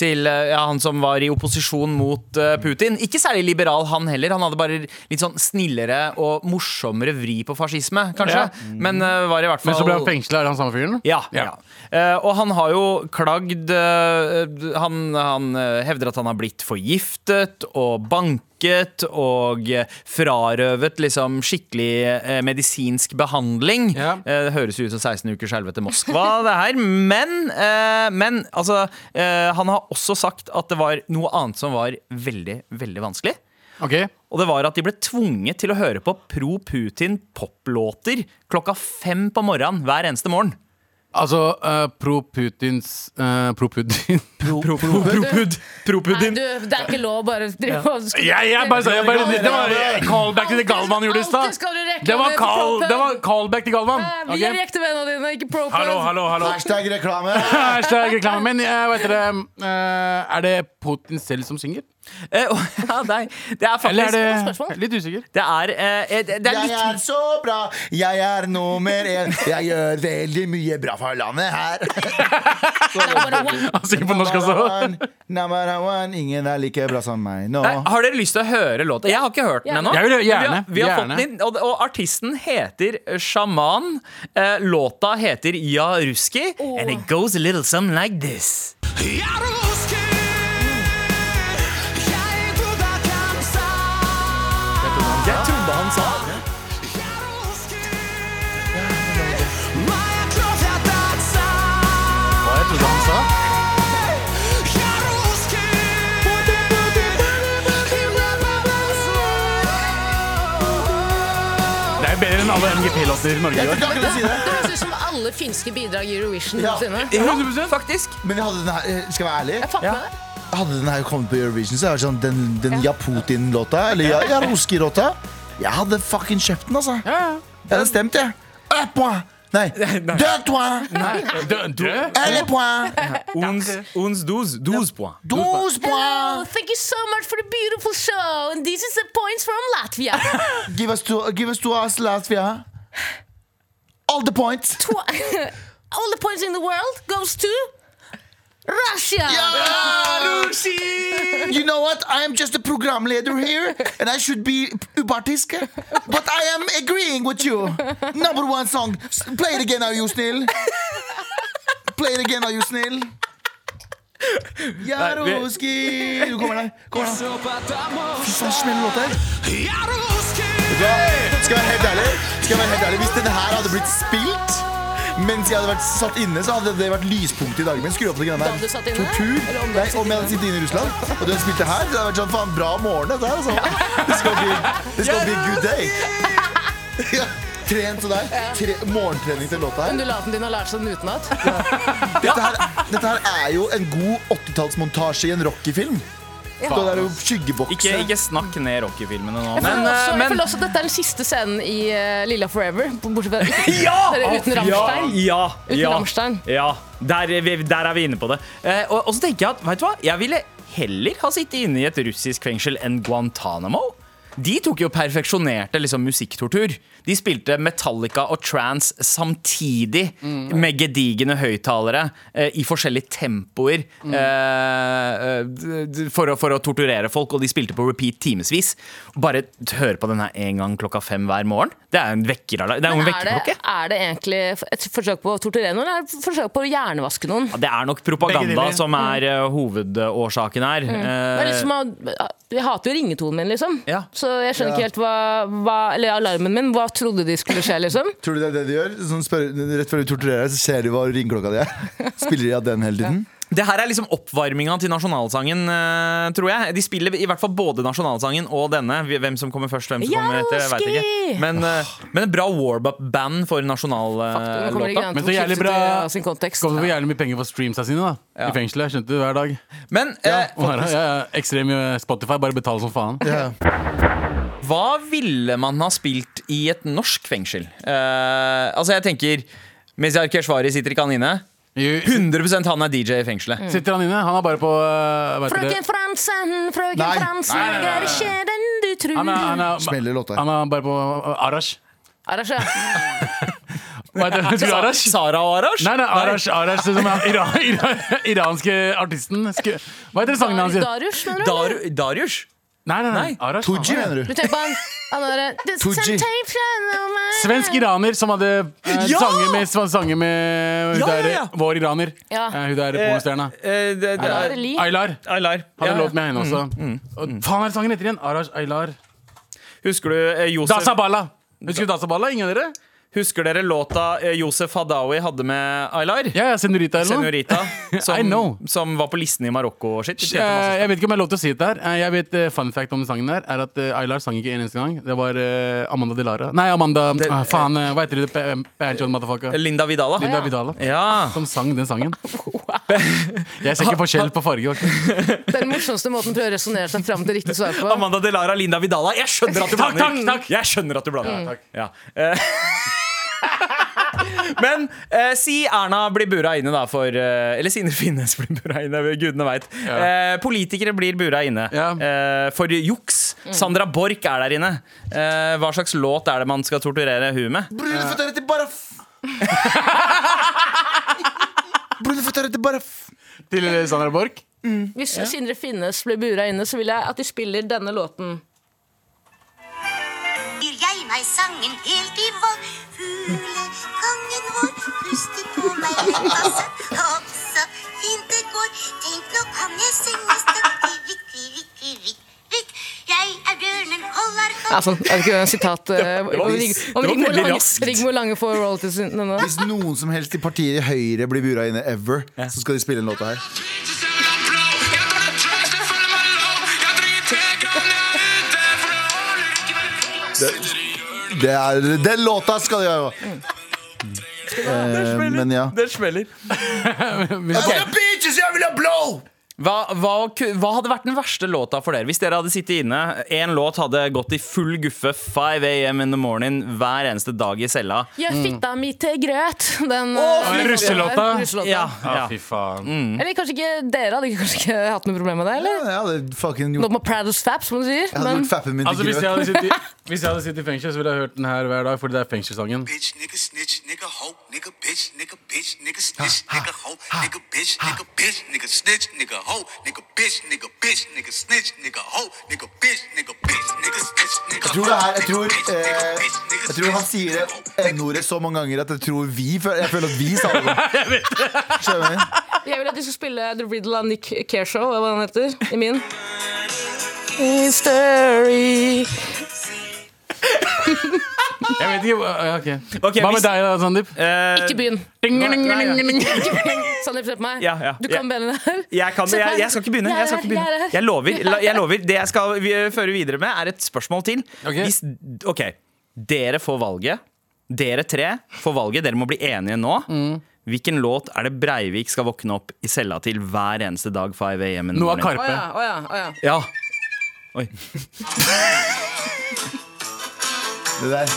til eh, ja, han som var i opposisjon mot eh, Putin. Ikke særlig liberal, han heller. Han hadde bare litt sånn snillere og morsommere vri på fascisme, kanskje. Ja. Men eh, var i hvert fall Men så ble han fengsla. Er det han samme fyren? Ja. ja. Eh, og han har jo klagd eh, han, han eh, hevder at han har blitt forgiftet og banket misbruket og eh, frarøvet liksom skikkelig eh, medisinsk behandling. Ja. Eh, Det høres jo ut som 16 ukers helvete Moskva, det her. Men, eh, men altså, eh, han har også sagt at det var noe annet som var veldig, veldig vanskelig. Ok? Og det var at de ble tvunget til å høre på pro-Putin-poplåter klokka fem på morgenen hver eneste morgen. Altså eh, pro-Putins eh, Pro-Putin Nei, Pro-Putin. du, det er ikke lov å bare drive og jeg, jeg bare, sa- jeg bare, Det var callback til det Galvan gjorde i Alltid skal stad. du rekke Det var, med call, pro-pub. det var callback til Galvan. Eh, Vi ok? er de ekte vennene dine, ikke pro-pub. Hallo, hallo, hallo. Hashtag reklame. Hashtag reklame. Men eh, vet dere, eh, er det Putin selv som synger? Eh, å, ja, nei, det er Eller faktisk er godt spørsmål. det Litt usikker. Det er, eh, det det er Jeg litt er så bra, jeg er nummer én. Jeg gjør veldig mye bra for landet her. Han synger på norsk Number også. one, number one. Ingen er like bra som meg nå. Nei, Har dere lyst til å høre låta? Jeg har ikke hørt den ennå. Jeg vil gjerne, Men Vi har, vi har gjerne. fått den inn, og, og artisten heter Sjaman. Eh, låta heter Ja Ruski. And it goes a little something like this. Jeg trodde han sa Hva jeg trodde han sa? Det er bedre enn alle MGP-låter Norge Jeg gjør. kan ikke si det. Det høres ut som alle finske bidrag i Eurovision Ja. noensinne. Ja, faktisk. Men hadde den her, eh, skal jeg være ærlig Jeg fatter det. Hadde den her kommet på Eurovision, så hadde jeg vært sånn Den, den Ja Putin-låta, eller Ja, ja Ruski-låta Jeg hadde fucking kjøpt den, altså. Jeg hadde stemt, jeg. Un point. Nei. Deux points. Dø- Død? Un point. Ons, ons douze, douze points. Douze Hello, points. Oh, thank you so much for the beautiful show, and these is the points from Latvia. Give us to, give us to us, Latvia. All the points. All the points in the world goes to Russia! You know what? I am just a programleder here, and I should be upartisk. But I am agreeing with you. Number one song. S- Play it again, are you snill? Play it again, are you snill? Jaroski Du kommer deg. Kommer deg. Fy faen, smell låter. Skal jeg være helt ærlig Skal jeg være helt ærlig Hvis denne her hadde blitt spilt mens jeg hadde vært satt inne, så hadde det vært lyspunktet i dag. Men skru opp det greiene Da du der. satt inne? Tortur. Eller om du Nei, hadde sittet om jeg hadde sittet inne i Russland, og du hadde spilt det her, så hadde det vært sånn faen bra morgen, dette her. Altså. This gonna be, this gonna be a good day. Ja. Trent og der. Tre, morgentrening til låta her. Undulaten din har lært seg den utenat. Dette her, dette her er jo en god 80-tallsmontasje i en rockefilm. Stå der og skyggebokse. Ikke, ikke snakk ned rockefilmene nå. Men, Men, også, eh, jeg men føler også at dette er den siste scenen i eh, Lilla Forever. Bortsett fra Dere Ja! uten Rammstein. Ja, ja, Uten ja, Rammstein. ja. Der, er vi- der er vi inne på det. Eh, og, og så tenker jeg at, vet du hva? Jeg ville heller ha sittet inne i et russisk fengsel enn Guantánamo. De tok jo perfeksjonerte liksom, musikktortur. De spilte Metallica og trans samtidig Mm. med gedigne høyttalere eh, i forskjellige tempoer Mm. eh, d- d- for, å, for å torturere folk, og de spilte på repeat timevis. Bare t- høre på den her én gang klokka fem hver morgen. Det er jo en vekkeralarm. Det er jo en Er det, vekkerklokke. er det egentlig et forsøk på å torturere noen, eller er det et forsøk på å hjernevaske noen? Ja, Det er nok Begge propaganda deler. som er eh, hovedårsaken her. Mm. Det er liksom- Eh, litt som å- jeg hater jo ringetonen min, liksom. Ja. Så jeg skjønner ikke helt hva, hva Eller alarmen min. Hva trodde de skulle skje, liksom? Tror du det er det de gjør? Sånn spør, rett før du torturerer deg, så ser du hva ringeklokka di er. Spiller de av den hele tiden? det her er liksom oppvarminga til nasjonalsangen, eh, tror jeg. De spiller i hvert fall både nasjonalsangen og denne. Hvem som kommer først, hvem som kommer etter, veit Jauski! ikke. Men, eh, men en bra warm-up-band for eh, Nå kommer det ikke nasjonallåta. an Men til så å jævlig skifte bra til av sin kontekst. Kommer til å få jævlig mye penger for streamsa sine da i fengselet. Skjønte du hver dag. Men eh, Og her, ja, ja, ekstrem eh, Spotify, bare betal som faen. hva ville man ha spilt i et norsk fengsel? Eh, altså, jeg tenker Mizar Keshvari sitter ikke han inne. Jo, 100 han er DJ i Mm. fengselet. Sitter han inne? Han er bare på eh, vet dere- Frøken Fransen, frøken Nei. Fransen, Nei, nei, nei, jeg er ikke den du tror. han er, han er, Smeller låta. Han er bare på eh, Arash. Arash, ja. Hva heter det? Husker du Arash? Sara og Arash? Nei, ah. nei, Arash, Arash som er ira, ira, iranske artisten. Sku, hva heter sangen hans? Nei, Darius, mener du? Dar Darius? nei, nei, Nei. Arash. Tooji, mener Du du? eh, tenker sånn på han, han derre Tooji. svensk iraner som hadde eh, Ja! sanger med, svan- sanger med hun Ja, ja, der, ja. Vår iraner. Ja. Eh, hun der pornostjerna. Eh, det, det er Li. Aylar. Aylar. Hadde Ja. låt med henne også. altså? Og, faen, hva er sangen heter igjen? Arash Aylar. Husker du eh, Josef Dasabala! Husker du Dasabala? Ingen av dere? Husker dere låta eh, Josef Hadaoui hadde med Aylar? Ja, ja, Senorita eller noe. Senorita, I know. som, som var på listen i Marokko og shit. De Eh, tjente masse. jeg vet ikke om jeg har lov til å si dette her. Eh, Jeg vet eh, Fun fact om den sangen der er at eh, Aylar sang ikke en eneste gang. Det var eh, Amanda Delara. Nei, Amanda ah, Faen, eh, hva heter det? Pe- Pancho motherfucker. Linda Vidala. Linda Vidala. Ja. Som sang den sangen. Jeg ser ikke forskjell på farge. ok? Den morsomste måten å prøve å resonnere seg fram til riktig svar på. Amanda Delara, Linda Vidala. Jeg skjønner at du Takk, blander. takk, takk. Mm. Jeg skjønner at du blander. Ja. Eh, Men eh, si Erna blir bura inne, da, for eh, Eller Sindre Finnes blir bura inne, gudene veit. Eh, politikere blir bura inne Ja. eh, for juks. Mm. Sandra Borch er der inne. Eh, hva slags låt er det man skal torturere hun med? Brune føtter etter baraf. Brune føtter etter baraf. Til eh, Sandra Borch. Hvis Sindre Finnes blir bura inne, så vil jeg at de spiller denne låten. Byr jeg meg sangen helt i vold. Fuglekongen vår puster på meg letta sønn. Hopp, så fint det går. Tenk, nå kan jeg synge støtt. Kvivik, kvivik, kvivik, kvivik. Jeg er bjørnen, holder hånd. Altså, er det ikke en sitat eh, om det var- Rig- det var om Rigmor veldig Lange, raskt. Rigmor Lange får royalties nå? Mm. nå? Hvis noen som helst i partiet i Høyre blir bura inne ever, så skal de spille den låta her. Det er, den låta skal de ha! Mm. jo. Eh, men ja. Det smeller. Jeg vil ha beaches, jeg vil ha blow! Hva, hva, ku- hva hadde vært den verste låta for dere? Hvis dere hadde sittet inne Én låt hadde gått i full guffe 5 am in the morning hver eneste dag i cella. Gjør fitta mi til grøt. Den, fy eh, russelåta. der, russelåta. Ja, ja. Ah, fy faen. Eller kanskje ikke dere hadde kanskje ikke hatt noe problem med det? eller? Ja, jeg hadde fucking Noe gjort, med Prados Faps, som du sier. jeg hadde Men gjort fappen min Altså, til hvis, jeg grøt. hadde sittet, i- hvis jeg hadde sittet i fengsel, så ville jeg hørt den her hver dag, fordi det er fengselssangen. bitch, nigga snitch, nigga hoe, nigga bitch, nigga bitch, nigga snitch, nigga hoe, nigga bitch, nigga bitch, nigga snitch, nigga hoe, nigga bitch, nigga bitch, nigga snitch, nigga hoe, nigga bitch, nigga bitch, nigga snitch, nigga Jeg tror, det her, jeg, hoe, nigga bitch, tror, nigga eh, bitch, nigga jeg tror han snitch, sier nigga hoe, det N-ordet så mange ganger at jeg tror vi føler, Jeg føler at vi sa det. Skjønner du? jeg vil at de skal spille The Riddle of Nick Care Show, eller hva den heter, i min. Mystery. Jeg vet ikke, hva- ja, ok. Ok, Hva hvis- med deg, da, Sandeep? Eh, Ikke begynn. Ding, ding, ding, nei, ja. ding, ding. Sandeep, se på meg. Ja, ja. Du kan Ja. bedre enn det her. jeg, kan, Se på jeg, meg. jeg skal ikke begynne. Jeg er Jeg, skal her, jeg ikke er begynne. her. jeg lover. La, jeg lover. Det jeg skal vi, føre videre med, er et spørsmål til. Ok. Hvis, ok, Dere får valget. Dere tre får valget. Dere må bli enige nå. Hvilken låt er det Breivik skal våkne opp i cella til hver eneste dag? 5 AM in the Noah morning? Å ja, Karpe. å ja, å ja. Ja. Oi. Det der.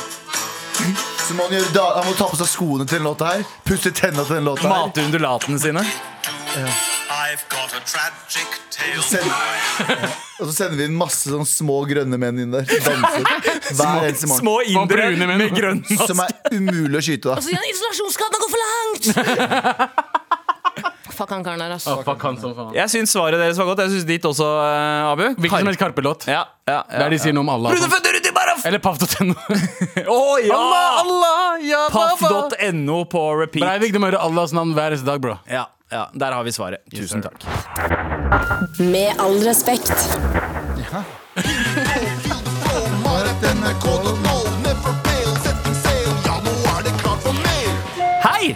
Så må han, gjøre da, han må ta på seg skoene til den låta her. Pusse tenna til den låta her. Mate undulatene sine. I've got a tragic tale. Send, og så sender vi inn masse sånne små grønne menn inn der. Som danser hver eneste morgen. Små indre brune menn. med grønn Som maske. er umulig å Altså, skyte, da. Så sier han isolasjonsgraden har gått for langt! Fuck han karen der, altså. Å, Fuck han som faen. Jeg syns svaret deres var godt. Jeg syns ditt også, eh, Abu. Hvilken som Kar- helst Karpe-låt. ja, ja, ja. Der de sier noe om Allah. og Brune sånt. føtter uti baraf! Eller Paff og Tenno. Å, ja! Allah, Paff.no på repeat. Breivik, du må høre Allahs navn hver eneste dag, bro. Ja, ja, der har vi svaret. Tusen takk. Med all respekt. Hei!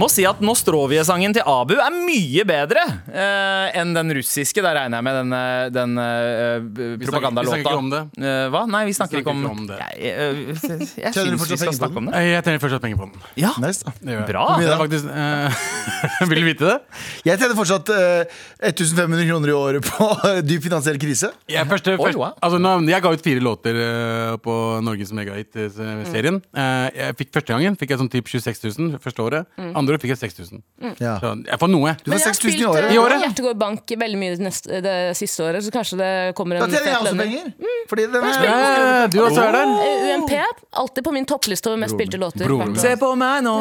Må si at Nostrovje-sangen til Abu er mye bedre eh, enn den russiske. Der regner jeg med den, eh, den eh, Vi snakker- propagandalåta. vi snakker ikke om det. Eh, hva? Nei, vi snakker, Vi snakker ikke om, ikke om det. Jeg, eh, jeg, jeg Tjener du syns vi fortsatt skal penger på snakke om det. Eh, Jeg tjener fortsatt penger på den. Ja, Nice, da. Det gjør jeg. bra! Det er faktisk, eh, vil du vite det? Jeg tjener fortsatt eh, 1500 kroner i året på dyp finansiell krise. Jeg, første, Oi, første, wow. altså, nå, jeg ga ut fire låter eh, på Norges Mm. Megahit-serien. Eh, jeg fikk Første gangen fikk jeg sånn typ 26 000 første året. Mm. Andre året fikk jeg 6000. Ja. Så jeg får noe. Du får Men jeg har 6000 i spilt, året. eh, I året? Hjertegård Bank veldig mye neste, det siste året, så kanskje det kommer Da en tjener altså jeg også lønning. penger. Fordi den er Eh, du også er der. Eh, UMP alltid på min toppliste over mest spilte låter. Broren min. Se på meg nå,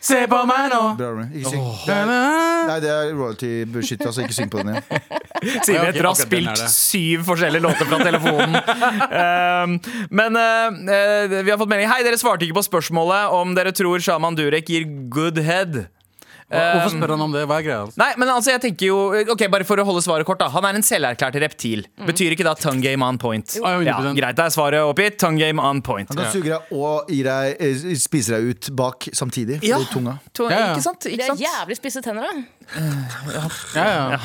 se på meg nå. Bra, Ronny. Ikke syng. Det er- Nei, det er royalty bullshit. Altså, ikke syng på den igjen. Simen Ja, ok, etter å ha akkurat den er spilt det. syv forskjellige låter fra telefonen. Um, men uh, uh, vi har fått melding. Hei, dere svarte ikke på spørsmålet om dere tror Shaman Durek gir good head. Hvorfor spør han om det? Hva er greia? Nei, men altså jeg tenker jo Ok, Bare for å holde svaret kort. da Han er en selverklært reptil. Mm. Betyr ikke da tongue game on point? Ah, jo, Ja, 100%. greit, da er svaret oppgitt. Tongue game on point. Han kan suge deg og gi deg, eh, spise deg ut bak samtidig. Ja. Ja. Tunga. To- Ja, ja. Ikke sant? De Ikke har sant? jævlig spisse tenner, da. Ja, ja.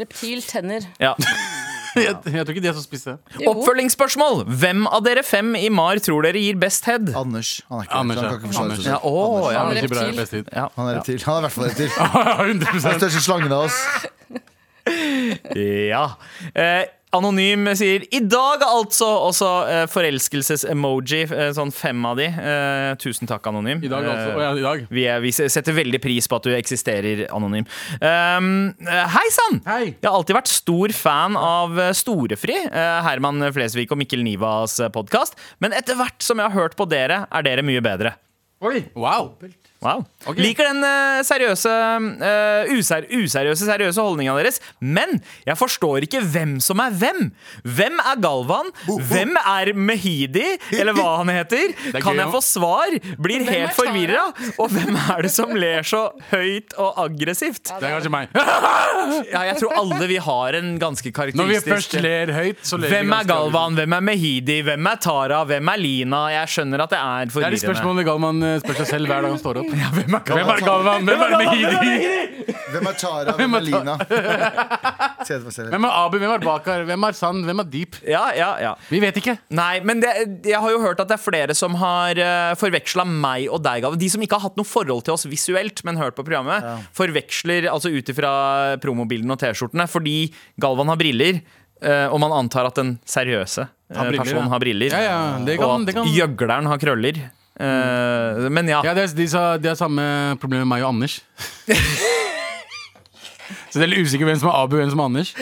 Reptil tenner. Ja. Jeg, jeg tror ikke de er så spisse. Oppfølgingsspørsmål. Hvem av dere fem i MAR tror dere gir best head? Anders. Han er ikke Anders, så han ja. kan ikke forsvare Anders, seg. Ja, å, ja. Han er ikke bra i reptil. best tid. Ja. Han er reptil. Han er i hvert fall reptil. Han 100 er den største slangen av oss. Ja. Eh, Anonym sier 'i dag, altså', og så eh, forelskelses-emoji. Eh, sånn fem av de. Eh, tusen takk, Anonym. I dag, altså. Eh, Å ja, i dag. vi, er, vi setter veldig pris på at du eksisterer anonym. Um, eh, hei sann! Hei. Jeg har alltid vært stor fan av eh, Storefri, eh, Herman Flesvig og Mikkel Nivas podkast. Men etter hvert som jeg har hørt på dere, er dere mye bedre. Oi, wow. Wow. Ok. Liker den eh, seriøse eh, user, useriøse seriøse holdninga deres, men jeg forstår ikke hvem som er hvem. Hvem er Galvan? Hvem er Mehidi, eller hva han heter? er Kan gøy jeg nå. få svar? Blir helt Tara? forvirra. Og hvem er det som ler så høyt og aggressivt? Det er kanskje meg. Ja, jeg tror alle vi har en Når ganske vi karakteristisk først ler høyt, så ler vi Hvem er ganske Galvan? Hvem er Mehidi? Hvem er Tara? Hvem er Lina? Jeg skjønner at det er Det er de forvirrende. spørsmålene Galvan eh, spør seg selv hver dag han står opp. hvem er Galvan? Galvan? Hvem er Mehidi? Hvem er Tara? Hvem er Lina? Se etter meg selv. Hvem er Abu? Hvem er Bakar? Hvem er Sand? Hvem er Deep? Ja, ja, ja. Vi vet ikke. Nei, men det, jeg har jo hørt at det er flere som har uh, forveksla meg og deg. Gav. De som ikke har hatt noe forhold til oss visuelt, men hørt på programmet, forveksler altså ut ifra promobildene og T-skjortene fordi Galvan har briller, eh, og man antar at den seriøse eh, Har briller, personen ja. har briller. Ja, ja, det og kan, at det kan. gjøgleren har krøller. Eh, men ja. Ja, det er, de, sa, de har samme problem med meg og Anders. Så det er litt usikker hvem som er Abu, hvem som er Anders.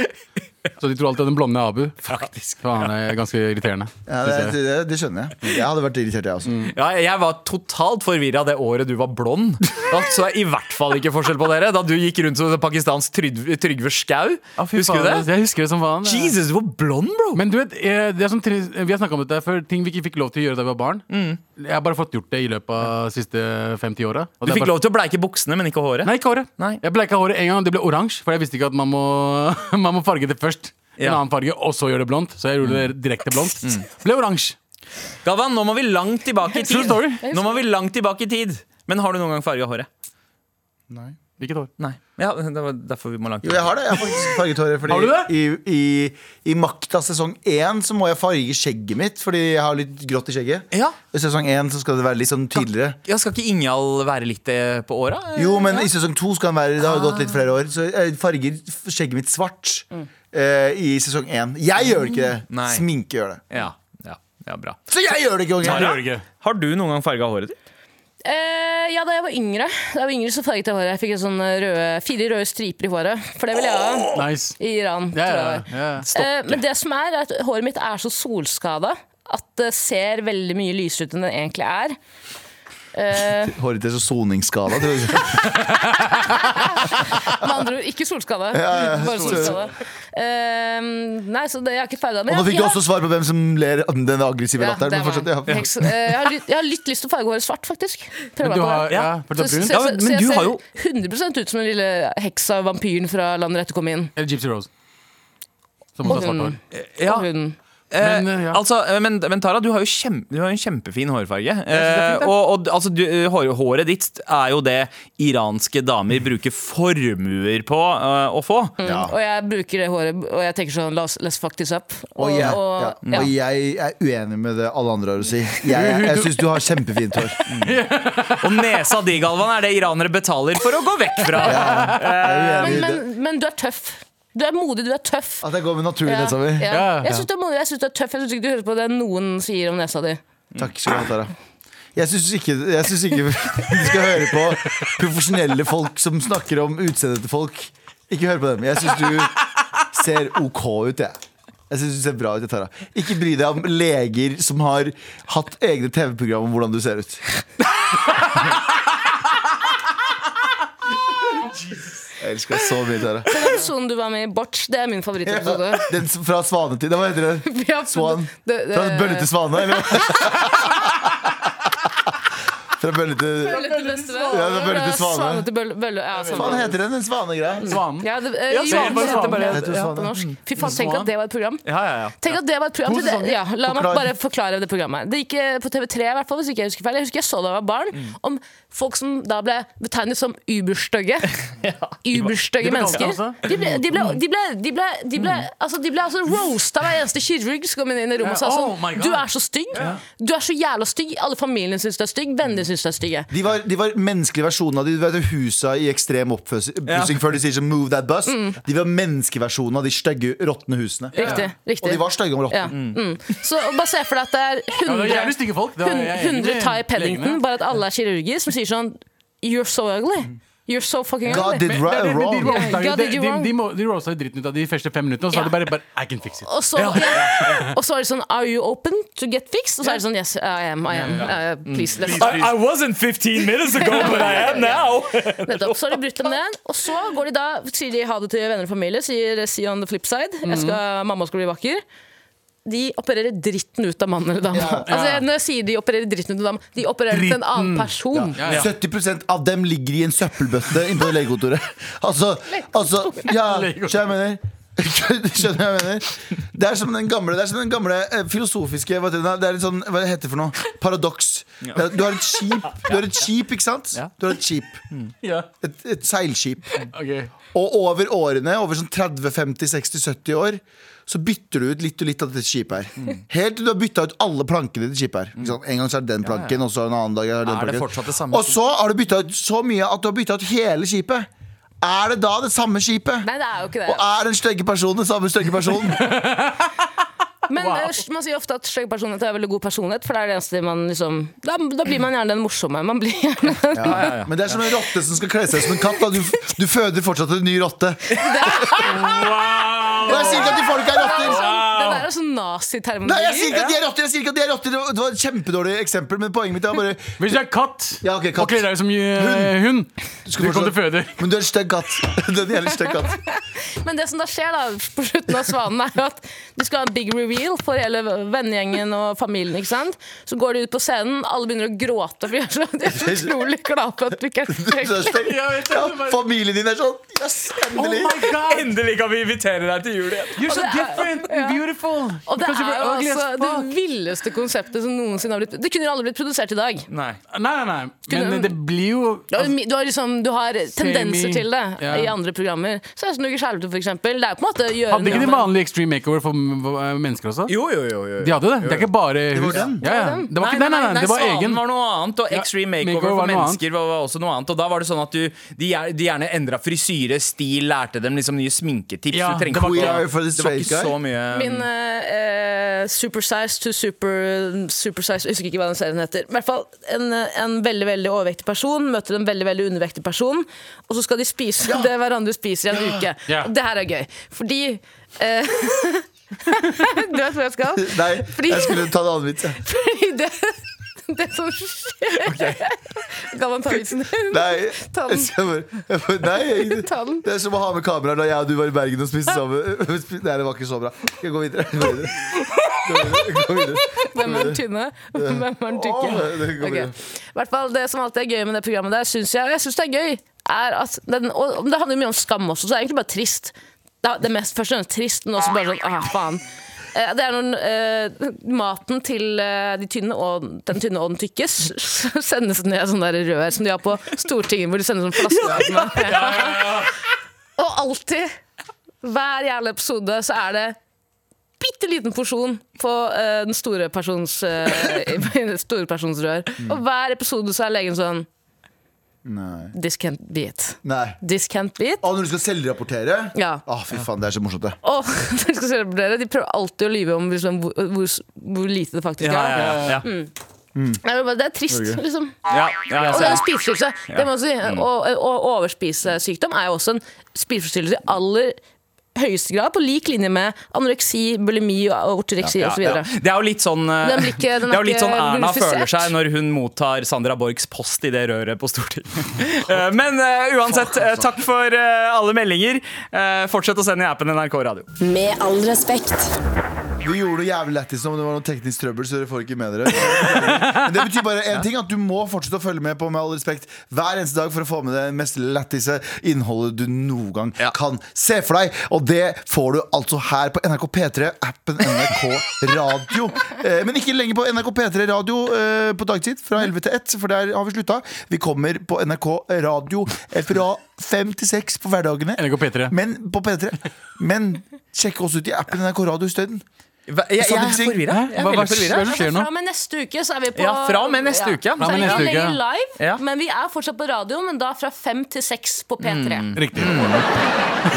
Så de tror alltid at den blonde er Abu. Faktisk. For han er ganske irriterende. Ja, det, det, det skjønner jeg. Jeg hadde vært irritert, jeg også. Ja, jeg var totalt forvirra det året du var blond. Da så jeg i hvert fall ikke forskjell på dere. Da du gikk rundt som pakistansk Trygve Trygve Skau. Husker du det? altså, Jeg husker det som faen. Jesus, du var blond, bro! eh, Men du vet, eh, det er sånn, trist- Vi har snakka om dette før, ting vi ikke fikk lov til å gjøre da vi var barn. Mm. Jeg har bare fått gjort det i løpet av de siste 50 åra. Du fikk lov til å bleike buksene, men ikke håret. Nei, ikke håret. Nei. Jeg bleika håret en gang, og det ble oransje. For jeg visste ikke at man må, man må farge det først. En Ja. annen farge, og så gjøre det blondt. Så jeg Mm. gjorde det direkte blondt. Ble oransje. Galvan, nå må vi langt tilbake i True tid. story. Nå må vi langt tilbake i tid Men har du noen gang farga håret? Hvilket hår? Nei. Ja, det var derfor vi må langt Jo, jeg har det. Jeg har faktisk farget håret. Fordi Har du det? I, i, I Makta sesong én så må jeg farge skjegget mitt, fordi jeg har litt grått i skjegget. Ja. I sesong én så skal det være litt sånn tydeligere. Ja, Skal ikke Ingjald være litt eh, på åra? Eh, Jo, men i sesong to skal han være Det har gått litt flere år. Så jeg farger skjegget mitt svart eh, i sesong én. Jeg gjør ikke det. Nei. Sminke gjør det. Ja, ja, ja bra Så jeg gjør det ikke, Nei, det okay? gjør det ikke. Har du noen gang farga håret ditt? Eh, ja, da jeg var yngre, da jeg var yngre så farget jeg håret. Jeg fikk en sånn røde, fire røde striper i håret. For det ville jeg ha Nice. i Iran. Ja, tror ja, jeg. ja. Eh, men det som er, er at håret mitt er så solskada at det ser veldig mye lysere ut enn det egentlig er. Eh, Håret ditt er så soningsskada. tror jeg. med andre ord, ikke solskada. bare solskada. Eh, nei, så det, jeg har ikke ferdig Og nå fikk du også svar på hvem som ler av den aggressive ja, det latteren. Men var fortsatt, den. ja. Heks- eh, jeg, har litt, jeg har litt lyst til å farge håret svart, faktisk. Prøve Men meg du på det. har, ja, for det Så, er brun. så, Ja, så, men- så men jeg du har ser jo- 100 ut som den lille heksa, vampyren fra landet etter kom inn. Eller Gypsy Rose. Som også har svart hår. Ja, Hun, eh, Men, eh, ja. altså, eh, men, men Tara, du har jo kjem, du har jo en kjempefin hårfarge. synes det er fint, Eh, da. og og altså, du, eh, hår, håret ditt er jo det iranske damer bruker formuer på eh, å få. Og jeg bruker det håret, og jeg tenker sånn, let's, let's fuck this up. Og jeg, og- ja. ja. og jeg er uenig med det alle andre har å si. Jeg, jeg syns du har kjempefint hår. Og nesa di, Galvan, er det iranere betaler for å gå vekk fra. Jeg er uenig Men, i det. men, men du er tøff. Du er modig, du er tøff. At jeg går med naturlig Ja, nesa mi. ja. Ja, ja. Jeg syns du er modig, jeg syns du er tøff. Jeg syns ikke du hører på det noen sier om nesa di. Takk skal du ha, Tara. Jeg syns ikke, jeg synes ikke du skal høre på profesjonelle folk som snakker om utseendet til folk. Ikke hør på dem. Jeg syns du ser OK ut, jeg. Jeg synes du ser bra ut, jeg, Tara. Ikke bry deg om leger som har hatt egne TV-program om hvordan du ser ut. Jeg elsker deg så mye, Tara. Den episoden du var med i, Botch, det er min favorittepisode. Ja, Den s- fra svanetid. Hva heter det? Ja, Svan? det- det- Fra bølle til svane? Eller? Fra bølle til Bølle til bestevenn. Ja, det er Bølle til Svane. Svane til bølle, bølle. Ja, Hva sånn. heter den? Den svanegreia? Svanen. ja, det, eh, Ja, Johan Svane, heter Svane. bare Jeg tror ja, Svane. på norsk. Fy faen, tenk at det var et program. Ja, ja, ja. Tenk at det var et program To til det, sesonger. ja, La meg Forklar. bare forklare det programmet. Det gikk eh, på TV3, i hvert fall, hvis ikke jeg husker feil. Jeg husker jeg så det da jeg var barn, om folk som da ble betegnet som uberstygge. Uberstygge de ble kalt mennesker. det også. De ble, de ble, de ble, de ble, de ble, altså, de ble altså roasta hver eneste kirurg som kom inn i rommet og sa Ja, oh my sånn God. Du er så stygg. Du er så jævla stygg. Alle familien syns du er stygg. Vennene syns du er stygge. De var, de var menneskelige versjonen av de, du vet, husa i ekstrem opppussing før de sier sånn 'move that bus'. De var menneskeversjonen av de stygge, råtne husene. Mm. Riktig. riktig. Og de var stygge og råtne. ja. mm. Så og bare se for deg at det er Ja, 100 det er jævlig stygge folk. Det er- jeg er enig 100 med Ty Paddington, legene. bare at alle er kirurger, som sier sånn You're so ugly. You're so fucking God ugly. Men did det er det- wrong. de roasta jo- God did de- you de- wrong. de må- De roasta jo dritten ut av de første fem minuttene, og så Ja. er det bare, bare I can fix it. Og så, ja. og så er det sånn Are you open to get fixed? Og så er det sånn Yes, I am. I am. Uh, Mm. please, let's I, I wasn't 15 minutes ago, but I am now. Nettopp. Så har de brutt dem ned. Og så går de da, sier de ha det til venner og familie. Sier eh, see on the flip side. Mm. Jeg skal, mamma skal bli vakker. De opererer dritten ut av mannen eller dama. Altså, jeg- når jeg sier de opererer dritten ut av dama, de opererer til en annen person. Ja, ja. 70 av dem ligger i en søppelbøtte inne på legekontoret. Altså, altså Ja, skjønner jeg mener. Skjønner skjønner jeg mener Det er som den gamle, det er som den gamle eh, filosofiske hva heter det, det er en sånn, Hva det heter for noe? Paradoks. Det er- Du har et skip, du har et skip ikke sant? Du har et skip. Ja. Et, et seilskip. Ok. Og over årene, over sånn 30, 50, 60, 70 år, så bytter du ut litt og litt av dette skipet her. Helt til du har bytta ut alle plankene til skipet her. Ikke sant? En gang så er det den planken, og så en annen dag er det den Er det planken. fortsatt det samme og så har du bytta ut så mye at du har bytta ut hele skipet. Er det da det samme skipet? Nei, det er jo ikke det. Og er den stygge personen den samme stygge personen? Men eh, man sier ofte at stygg personlighet er veldig god personlighet, for det er det eneste man liksom Da, da blir man gjerne den morsomme. Man blir gjerne Men det er som en rotte som skal kle seg som en katt. Da. Du, f- du føder fortsatt en ny rotte. Wow! Og jeg sier ikke at de folk er Det er rotter! sånn, det der er sånn Nei, jeg sier naziterminologi. ikke at de er rotter! Jeg sier ikke at de er rotter Det var et kjempedårlig eksempel, men poenget mitt er bare Hvis du er katt, Ja, ok, katt. og kler deg som eh, hund, Skal du kommer til å føde. Men du er en stygg katt. Du er en jævlig stygg katt. Men det som da skjer da på slutten av Svanen, er jo at du skal ha en big reveal for hele vennegjengen og familien. ikke sant? Så går de ut på scenen, alle begynner å gråte, for de er så, de er så utrolig glad for at du ikke er Du er stygg. stygg. Jeg vet det, Ja, det var- familien din er sånn. Yes, Oh endelig. my god! Endelig kan vi invitere deg til jul igjen. You're so det er- different ja. and beautiful! Og det Because er you were jo ugly as altså det fuck. villeste konseptet som noensinne har blitt Det kunne jo aldri blitt produsert i dag. Nei. Nei, nei, nei. Men det blir jo Du har, du har, liksom, du har tendenser Semi- til det Altså, ja. i andre programmer. 16 uker skjærelse, for eksempel. Det er jo på en måte å gjøre Hadde ikke de noe med- vanlig extreme makeover for m- for, eh, mennesker også? Jo, jo, jo. jo. De hadde det. Det er ikke bare hus. den. Ja, ja. Det var ikke, nei, nei, nei, det var Svanen egen. var noe annet, og Ja, Extreme Makeover Makeover var for noe mennesker var, var også noe annet. Og da var det sånn at du, de, gjer- de gjerne endra frisyre, stil, lærte dem liksom nye sminketips. Ja, du trengte det var ikke- We are for the det var straight ikke guy. så mye Min eh, eh, supersize to super supersize Jeg husker ikke hva den serien heter. I hvert fall en, eh, en veldig veldig overvektig person møter en veldig veldig undervektig person, og så skal de spise det hverandre spiser i en uke. Ja. Og det her er gøy, fordi eh, Du vet hvor jeg skal? Nei, Fordi- jeg skulle ta en annen vits. jeg. Fordi det, det sånn- som skjer Kan man ta vitsen din? Nei, Ta jeg den. skal bare, jeg bare, nei Ta den. det er som å ha med kamera da jeg og du var i Bergen og spiste sammen. Nei, det var ikke så bra. Skal jeg gå videre? Gå videre. Gå videre. Hvem er den tynne? Hvem er den tykke? Åh, det går Ok. bra. I hvert fall Det som alltid er gøy med det programmet der, syns jeg, og jeg syns det er gøy, er at den, og Det handler jo mye om skam også, så det er egentlig bare trist. Det er det er mest først og fremst trist, men også bare sånn ah, faen. Eh, Det er noen, eh, Maten til eh, de tynne og den tynne og den tykke s- s- sendes ned i sånne der rør som de har på Stortinget, hvor de sender sånn flasker. Og alltid, hver jævla episode, så er det bitte liten porsjon på eh, den store persons eh, store persons rør. Og hver episode så er legen sånn Nei. This can't be it. nei. This can't be it. Å, når du skal selvrapportere? Ja. Å, fy faen, det er så morsomt, det. Og dere skal se på dere, de prøver alltid å lyve om liksom, hvor, hvor, hvor lite det faktisk ja, ja, er. ja, ja. Nei, men bare, Det er trist, liksom. Ja, ja, ja, Og det er ja. Mm. en spiseforstyrrelse. Det må jeg si. Og, og overspisesykdom er jo også en spiseforstyrrelse i aller høyeste grad på lik linje med anoreksi, bulimi og ortoreksi Ja, osv. ja. Det er jo litt sånn, eh, Den blir ikke- den er det er jo litt ikke sånn Erna glorifisert. føler seg når hun mottar Sandra Borchs post i det røret på Stortinget. Eh, Men eh, uansett, eh, takk for eh, alle meldinger. Eh, Fortsett å sende i appen NRK Radio. Med all respekt. Du gjorde det jævlig lættis nå, men det var noe teknisk trøbbel, så dere får ikke med dere. Men det betyr bare én ting, at du må fortsette å følge med på Med all respekt hver eneste dag for å få med deg det mest lættise innholdet du noen gang kan se for deg. Og det får du altså her på NRK P3, appen NRK Radio. Eh, Men ikke lenger på NRK P3 Radio eh, på dagtid, fra 11 til 1, for der har vi slutta. Vi kommer på NRK Radio fra 5 til 6 på hverdagene. NRK P3. Men på P3. Men sjekk oss ut i appen NRK Radio isteden. Jeg, jeg er Sander Singh. forvirra. Jeg er Hva- hva veldig forvirra. skjer- hva skjer nå? Fra og med neste uke så er vi på Ja, fra og med neste uke. Så er og Fra vi med ikke neste uke. lenger live, Ja. men vi er fortsatt på radio, men da fra fem til seks på P3. Riktig.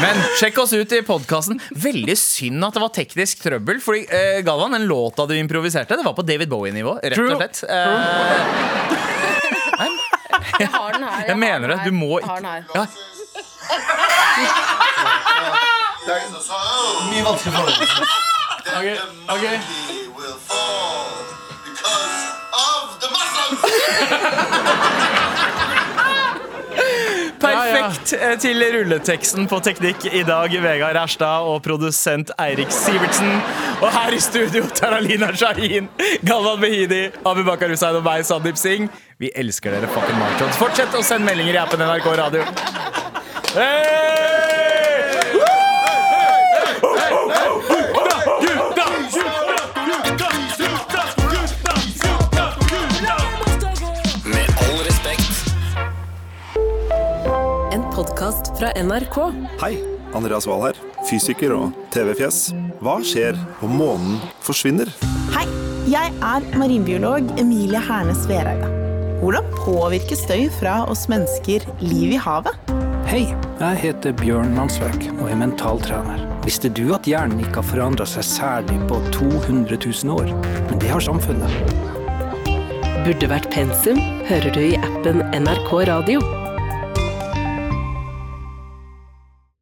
Men sjekk oss ut i podkasten. Veldig synd at det var teknisk trøbbel. Fordi eh, Galvan, den låta du improviserte, det var på David Bowie-nivå. Rett og True. slett. Eh, Jeg har den her. Jeg, jeg har mener den det. her. Du må Jeg har den ikke her. ja, Det er mye vanskelig for deg. Ok, ok will fall because of the Muslims. Perfekt eh, til rulleteksten på teknikk i dag, Vegard Herstad og produsent Eirik Sivertsen. Og her i studio, Taralina Shahin, Galvan Behidi, Abubakar Hussein og meg, Sandeep Singh. Vi elsker dere, fucking Martons. Fortsett å sende meldinger i appen NRK Radio. Hey! Med all respekt. En podkast fra NRK. Hei, Andreas Wahl her, fysiker og TV-fjes. Hva skjer om månen forsvinner? Hei, jeg er marinbiolog Emilie Hernes Vereide. Hvordan påvirker støy fra oss mennesker liv i havet? Hei, jeg heter Bjørn Mansverk og er mentaltrener. Visste du at hjernen ikke har forandra seg særlig på 200 000 år? Men det har samfunnet. Burde vært pensum, hører du i appen NRK Radio.